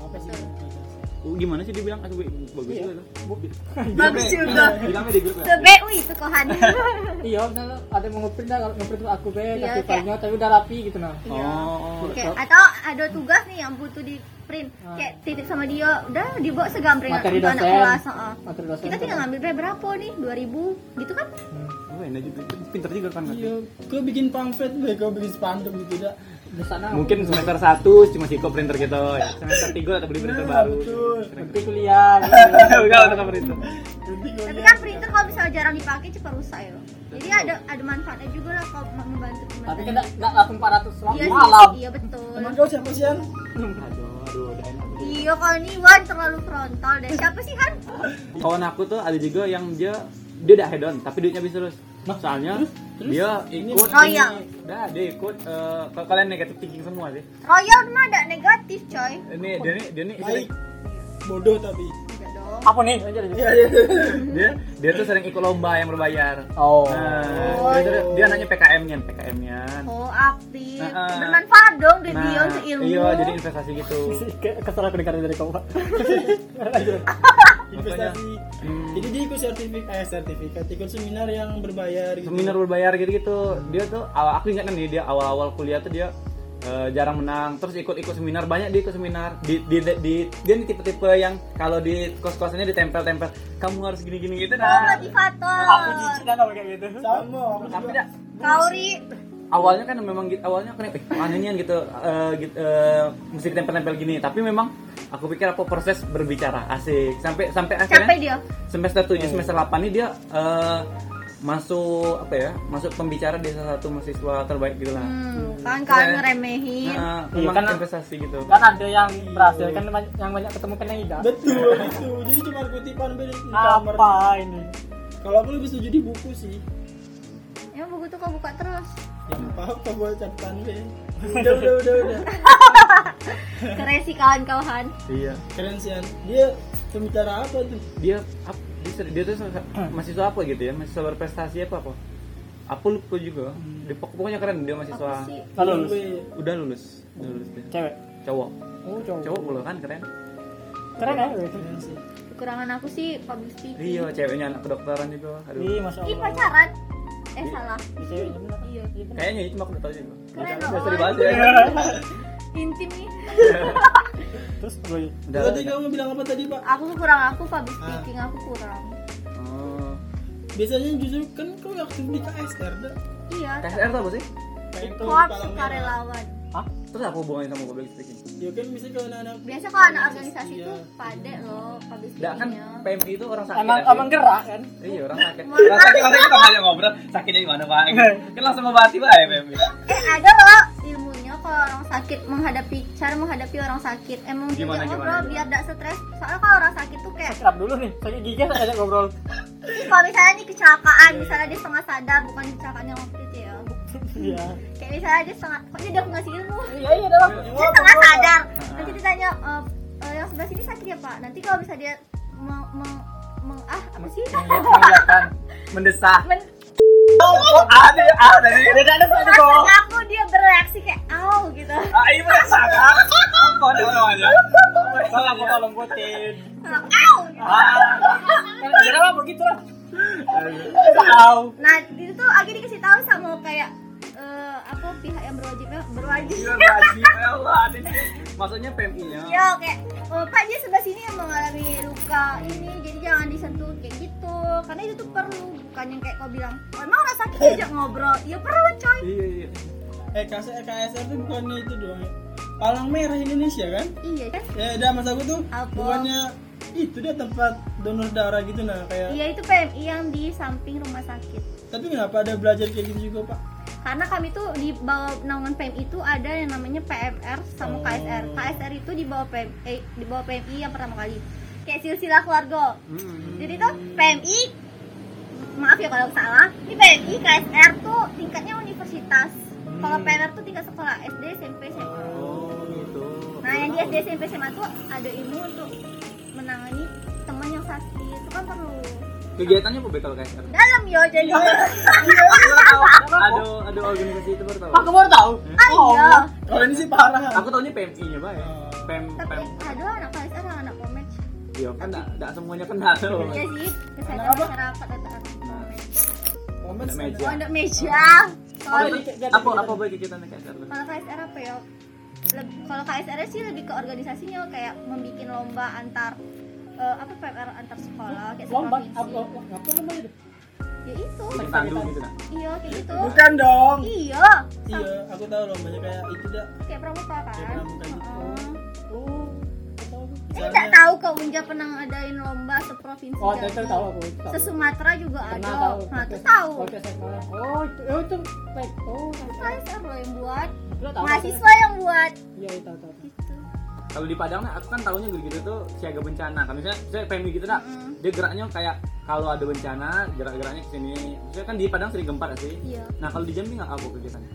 Speaker 4: apa sih
Speaker 2: Betul.
Speaker 4: buka jasa
Speaker 1: Oh, gimana sih dia bilang aku bagus
Speaker 3: Iya.
Speaker 1: juga tuh.
Speaker 2: bagus juga
Speaker 1: Bilangnya di grup ya.
Speaker 2: sebu itu kohan
Speaker 3: *laughs* Iya, misalnya ada yang mau ngeprint dah, kalau ngeprint tuh aku be,
Speaker 2: Iya,
Speaker 3: tapi
Speaker 2: kayak-
Speaker 3: filenya tapi udah rapi gitu nah.
Speaker 2: Iya.
Speaker 1: Oh.
Speaker 2: Kayak, atau ada tugas nih yang butuh di print kayak titip sama dia udah dibawa segambreng
Speaker 3: Ah. Materi
Speaker 2: untuk anak
Speaker 3: dosen. Ah.
Speaker 2: kelas heeh.
Speaker 3: Materi dosen.
Speaker 2: kita tinggal ngambil "Bre, berapa nih 2000 gitu kan
Speaker 1: Oh, enak juga. Pinter juga kan.
Speaker 4: iya kau bikin pamflet be kau bikin spanduk gitu dah
Speaker 3: Di sana
Speaker 1: Mungkin semester 1 cuma siko printer gitu ya. Semester 3 atau beli printer
Speaker 4: Nah,
Speaker 1: baru.
Speaker 4: betul.
Speaker 3: nanti kuliah. gitu.
Speaker 1: *laughs* Enggak untuk printer.
Speaker 3: Iya,
Speaker 4: nanti kau
Speaker 2: tapi
Speaker 4: lihat.
Speaker 2: kan printer kalau misalnya jarang dipakai cepat rusak ya jadi ada ada manfaatnya juga lah kalau membantu
Speaker 3: Tapi kan
Speaker 2: teman-teman
Speaker 3: nggak- nggak langsung 400
Speaker 2: iya
Speaker 3: ribu.
Speaker 2: sih,
Speaker 3: Malam.
Speaker 2: iya betul
Speaker 4: teman kau siapa sih yang
Speaker 1: Aduh, aduh, udah enak.
Speaker 2: iya kalau ini Wan terlalu frontal deh siapa sih Han
Speaker 1: Kawan aku tuh ada juga yang dia dia udah head on tapi duitnya habis terus. Soalnya dia ikut
Speaker 2: Royal.
Speaker 1: Dah, dia ikut eh, kalau kalian negatif thinking semua sih.
Speaker 2: Royal mah ada negatif coy
Speaker 1: Ini dia nih dia nih
Speaker 4: baik bodoh tapi
Speaker 2: tidak Iya dong
Speaker 3: Apa nih? Iya, Lanjut, lanjut.
Speaker 1: Iya, dia dia tuh sering ikut lomba yang berbayar.
Speaker 3: Oh.
Speaker 1: Nah, dia, dia, dia nanya PKM-nya, PKM-nya.
Speaker 2: oh aktif
Speaker 1: Nah, ah.
Speaker 2: bermanfaat dong di
Speaker 3: Nah,
Speaker 2: dia untuk ilmu
Speaker 1: iya jadi investasi gitu
Speaker 3: Kayak Kesel aku dengar dari kau, Pak.
Speaker 4: investasi
Speaker 1: Hmm.
Speaker 4: jadi dia ikut sertifikat eh sertifikat ikut seminar yang berbayar gitu.
Speaker 1: seminar berbayar gitu gitu dia tuh awal aku ingat kan nih dia awal awal kuliah tuh dia eh, jarang menang terus ikut ikut seminar banyak dia ikut seminar di, di, di- dia nih tipe tipe yang kalau di kos kosannya ditempel tempel kamu harus gini gini gitu
Speaker 2: Kau
Speaker 1: nah
Speaker 3: Aku
Speaker 2: motivator
Speaker 3: jijik kan kalau kayak gitu.
Speaker 4: sama aku
Speaker 1: tapi
Speaker 4: juga.
Speaker 1: dah,
Speaker 2: Kauri
Speaker 1: awalnya kan memang gitu, awalnya aku nih eh, mana nih yang gitu, eh, gitu eh, mesti ditempel tempel gini tapi memang aku pikir apa proses berbicara asik sampai sampai akhirnya
Speaker 2: capek dia
Speaker 1: semester
Speaker 3: Hmm.
Speaker 1: 7 semester 8 ini dia eh, masuk apa ya masuk pembicara di salah satu mahasiswa terbaik gitu lah
Speaker 2: hmm, kan kan
Speaker 1: Iya.
Speaker 2: ngeremehin
Speaker 1: Nah,
Speaker 3: Iya,
Speaker 1: memang
Speaker 3: karena-
Speaker 1: investasi gitu
Speaker 3: Kan ada yang berhasil, kan banyak- yang banyak ketemu kan yang tidak.
Speaker 4: betul itu jadi cuma kutipan be di kamar
Speaker 3: Apa ini?
Speaker 4: kalau aku lebih setuju di buku sih
Speaker 2: emang buku tuh kau buka terus
Speaker 4: ya nggak apa-apa buat catatan be udah udah udah udah
Speaker 2: keren sih kawan-kawan
Speaker 1: iya
Speaker 4: keren sih An. dia pembicara apa tuh
Speaker 1: dia ap- dia, ser- dia tuh se- mahasiswa apa gitu ya mahasiswa berprestasi apa apa aku lupa juga
Speaker 3: Hmm.
Speaker 1: dia, pok- pokoknya keren dia
Speaker 2: apa
Speaker 1: mahasiswa
Speaker 2: sih
Speaker 3: Kalau lulus
Speaker 4: Be.
Speaker 1: udah lulus udah lulus dia.
Speaker 3: cewek.
Speaker 1: cowok
Speaker 3: Oh, cowok.
Speaker 1: cowok pula kan keren
Speaker 3: Keren ya itu.
Speaker 4: keren sih
Speaker 2: kekurangan aku sih public speaking
Speaker 1: iya ceweknya anak kedokteran juga aduh
Speaker 3: Ih, Masya
Speaker 2: Ih
Speaker 3: Allah.
Speaker 2: pacaran eh salah gitu.
Speaker 3: Ih, Cewek bener. Iya, iya bener.
Speaker 1: kayaknya itu aku udah tahu juga
Speaker 2: Keren
Speaker 1: Udah- udah
Speaker 2: loh.
Speaker 1: sering
Speaker 2: *laughs*
Speaker 1: banget ya.
Speaker 2: intim nih
Speaker 3: Terus apa lagi?
Speaker 1: Udah-
Speaker 4: tadi kamu bilang apa tadi pak
Speaker 2: aku kurang aku public
Speaker 1: Ah.
Speaker 2: speaking aku kurang
Speaker 1: Oh.
Speaker 4: biasanya justru kan kau aktif di KSR dah
Speaker 2: iya
Speaker 1: KSR tuh apa sih
Speaker 4: kayak kau
Speaker 2: koap
Speaker 4: palang
Speaker 2: suka
Speaker 4: merah.
Speaker 2: relawan
Speaker 3: Hah?
Speaker 1: terus apa hubungannya sama public speaking
Speaker 4: ya kan bisa kalau anak-anak
Speaker 2: biasa kalau anak organisasi
Speaker 4: Iya.
Speaker 2: itu pade loh public
Speaker 1: Enggak kan
Speaker 2: speakingnya
Speaker 1: PMI itu orang sakit.
Speaker 3: Emang
Speaker 1: kan,
Speaker 3: emang gerak kan?
Speaker 1: Iya orang sakit.
Speaker 2: Mohon
Speaker 1: Orang sakit orang Iya. kita aja ngobrol sakitnya di mana Pak? Gitu. Kan langsung membahas Pak ya PMI.
Speaker 2: eh ada loh ilmunya kok kalau orang sakit menghadapi cara menghadapi orang sakit emang
Speaker 1: Gimana,
Speaker 2: gimana,
Speaker 1: gimana,
Speaker 2: ngobrol
Speaker 1: gimana?
Speaker 2: biar gak stres soalnya kalau orang sakit tuh kayak
Speaker 3: Kerap dulu nih, sakit gigi saya ajak ngobrol.
Speaker 2: kalau misalnya nih kecelakaan misalnya dia setengah sadar bukan kecelakaan yang waktu itu ya
Speaker 3: Iya.
Speaker 2: kayak misalnya dia setengah kok dia udah ngasih ilmu
Speaker 3: Iya iya dalam.
Speaker 2: dia setengah sadar nanti ditanya e, e, yang sebelah sini sakit ya pak nanti kalau bisa dia meng, meng, meng- ah apa sih
Speaker 3: Iya.
Speaker 2: *laughs*
Speaker 3: Mengiyakan.
Speaker 1: mendesah
Speaker 2: Men-
Speaker 1: ada ah tadi
Speaker 3: Tidak ada satu
Speaker 2: Maksud
Speaker 3: dong.
Speaker 2: aku dia bereaksi kayak au gitu
Speaker 1: ah ini mendesah kan apa namanya
Speaker 3: Kalau aku kalau ngikutin.
Speaker 2: Kalau au gitu.
Speaker 3: Ya lah begitu lah. Tahu.
Speaker 2: nah itu tuh Agi dikasih tahu sama kayak eh, aku pihak yang berwajibnya berwajib
Speaker 1: Iya, gaji. Ya Allah, ada nih. maksudnya PMI nya
Speaker 2: ya kayak "Oh, pak dia sebelah sini yang mengalami luka ini jadi jangan disentuh kayak gitu karena itu tuh perlu bukan yang kayak kau bilang oh, emang orang sakit diajak ngobrol ya perlu coy
Speaker 1: iya iya
Speaker 4: EKS EKSR itu bukannya itu doang ya? Palang merah Indonesia kan?
Speaker 2: iya kan?
Speaker 4: Ya udah mas aku tuh
Speaker 2: Apa?
Speaker 4: bukannya itu dia tempat donor darah gitu nah kayak.
Speaker 2: iya itu PMI yang di samping rumah sakit
Speaker 4: Tapi kenapa ada belajar kayak gitu juga pak?
Speaker 2: karena kami tuh di bawah naungan PMI itu ada yang namanya PMR sama KSR. KSR itu di bawah PMI eh, di bawah PMI yang pertama kali. Kayak silsilah keluarga.
Speaker 1: Hmm.
Speaker 2: Jadi tuh PMI maaf ya kalau salah, ini PMI KSR tuh tingkatnya universitas. Kalau PMR tuh tingkat sekolah SD, SMP, SMA.
Speaker 1: oh gitu
Speaker 2: Nah, yang di SD, SMP, SMA tuh ada ilmu untuk menangani teman yang sakit. Itu kan perlu
Speaker 1: kegiatannya apa bekal KSR
Speaker 2: dalam yo jadi. kan,
Speaker 1: ada ada organisasi itu baru tahu
Speaker 3: Aku baru tahu.
Speaker 2: Ah,
Speaker 3: Oh,
Speaker 2: iya.
Speaker 4: Kalau Oh, ini sih parah.
Speaker 1: aku tahunya PMI nya pak ya PM
Speaker 2: Tapi aduh anak KSR sama anak Pomed.
Speaker 1: iya kan tidak semuanya kenal loh
Speaker 2: E Iya sih, kesehatan
Speaker 4: Anak apa?
Speaker 2: masyarakat atau anak
Speaker 1: Nah.
Speaker 4: Komen
Speaker 1: Ada meja.
Speaker 2: Oh, E anak meja.
Speaker 3: Oh,
Speaker 2: Kalau
Speaker 3: jadi kegiatan-
Speaker 1: apa apa boy kegiatan KSR tuh?
Speaker 2: kalau KSR apa ya? Leb- Kalau KSR sih lebih ke organisasinya kayak membuat lomba antar eh, apa PMR antar sekolah kayak
Speaker 3: Lomba apa
Speaker 2: seprovinsi.
Speaker 3: apa namanya itu?
Speaker 2: Ya itu.
Speaker 1: Bikin tandu gitu nak
Speaker 2: Iya, kayak gitu.
Speaker 4: Bukan dong.
Speaker 2: Iya. Sam-
Speaker 4: Iya, aku tahu loh banyak kayak itu dah.
Speaker 2: Kayak pramuka kan.
Speaker 4: Kayak pramuka gitu.
Speaker 2: Heeh.
Speaker 3: Oh, aku tahu.
Speaker 2: Saya tidak tahu ke Unja pernah ngadain lomba seprovinsi.
Speaker 3: Oh, itu
Speaker 2: Jawa.
Speaker 3: tahu aku. tahu.
Speaker 2: Se Sumatera juga
Speaker 3: Pernah
Speaker 2: ada. Nah, itu
Speaker 3: podcast-
Speaker 2: tahu.
Speaker 3: podcast yang mana. Oh, itu oh, itu baik. Oh, tahu.
Speaker 2: KSR loh yang buat.
Speaker 3: Lo tahu,
Speaker 2: Mahasiswa yang buat.
Speaker 3: Iya, iya, tahu tahu.
Speaker 2: Gitu.
Speaker 1: kalau di Padang nah, aku kan tahunya gitu-gitu tuh siaga bencana kan misalnya, misalnya PMI gitu nak
Speaker 2: Mm-mm.
Speaker 1: dia geraknya kayak kalau ada bencana gerak-geraknya ke sini misalnya kan di Padang sering gempa nggak sih
Speaker 2: Iya.
Speaker 1: nah kalau di Jambi nggak apa kegiatannya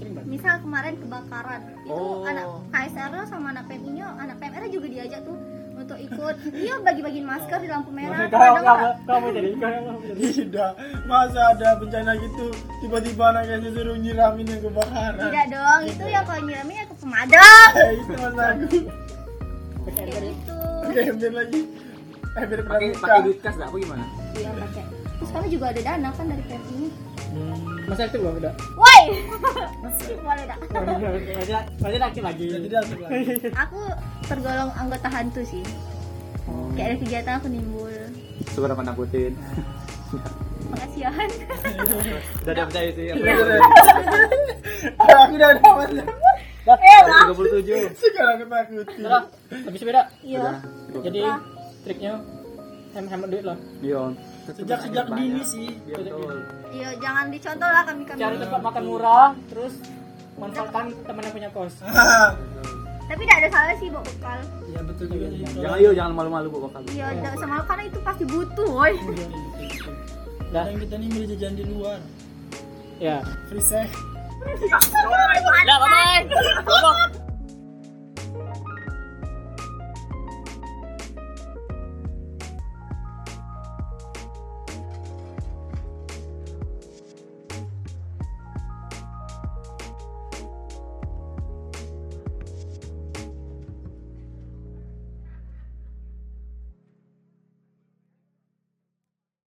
Speaker 3: Sering banget.
Speaker 2: misal kemarin kebakaran itu
Speaker 1: Oh.
Speaker 2: anak KSR sama anak PMI nya anak PMR juga diajak tuh untuk ikut dia bagi-bagiin masker di lampu merah
Speaker 3: Kamu
Speaker 2: kadang
Speaker 3: kamu
Speaker 2: nggak-
Speaker 3: kamu jadi kamu jadi.
Speaker 4: Tidak, masa ada bencana gitu tiba-tiba anaknya disuruh nyiramin yang kebakaran.
Speaker 2: tidak dong itu ya kalau nyiramin ya ke pemadam
Speaker 4: Ya, itu mas aku.
Speaker 3: Pakai
Speaker 2: kayak
Speaker 3: ember.
Speaker 2: gitu
Speaker 4: Pakai ember lagi. Ember
Speaker 1: pakai
Speaker 4: pramuka.
Speaker 1: pakai duit kas nggak apa gimana
Speaker 2: iya pakai terus kamu juga ada dana kan dari PMI
Speaker 3: Masa itu belum udah. Oh, iya,
Speaker 2: woi *laughs* boleh dah
Speaker 3: Masih masih laki lagi.
Speaker 4: Jadi dia langsung lagi.
Speaker 2: aku tergolong anggota hantu sih kayak ada kegiatan aku nimbul
Speaker 1: seberapa
Speaker 2: *laughs*
Speaker 1: nakutin
Speaker 2: pengasihan
Speaker 1: udah ada percaya sih
Speaker 4: Udah,
Speaker 2: Iya.
Speaker 4: udah, udah. Aku udah ada mas.
Speaker 3: Dah.
Speaker 1: tiga puluh tujuh
Speaker 4: Sekarang ketakutin.
Speaker 3: Udah. Habis beda.
Speaker 2: iya
Speaker 3: Jadi triknya hem hemat duit loh.
Speaker 1: iya
Speaker 4: Sejak sejak dini sih.
Speaker 1: Iya, betul.
Speaker 2: iya jangan dicontoh lah kami kami
Speaker 3: Cari tempat makan murah, terus manfaatkan teman yang punya kos.
Speaker 4: Hahaha.
Speaker 2: tapi tidak ada salah sih bawa bekal
Speaker 4: Iya betul juga sih.
Speaker 1: jangan yuk jangan malu-malu bu bakal
Speaker 2: iya tidak usah malu karena itu pasti butuh woi
Speaker 3: Dah.
Speaker 4: Yang kita nih milih jajan di luar.
Speaker 3: Ya.
Speaker 4: Free sex.
Speaker 3: Dah, bye bye.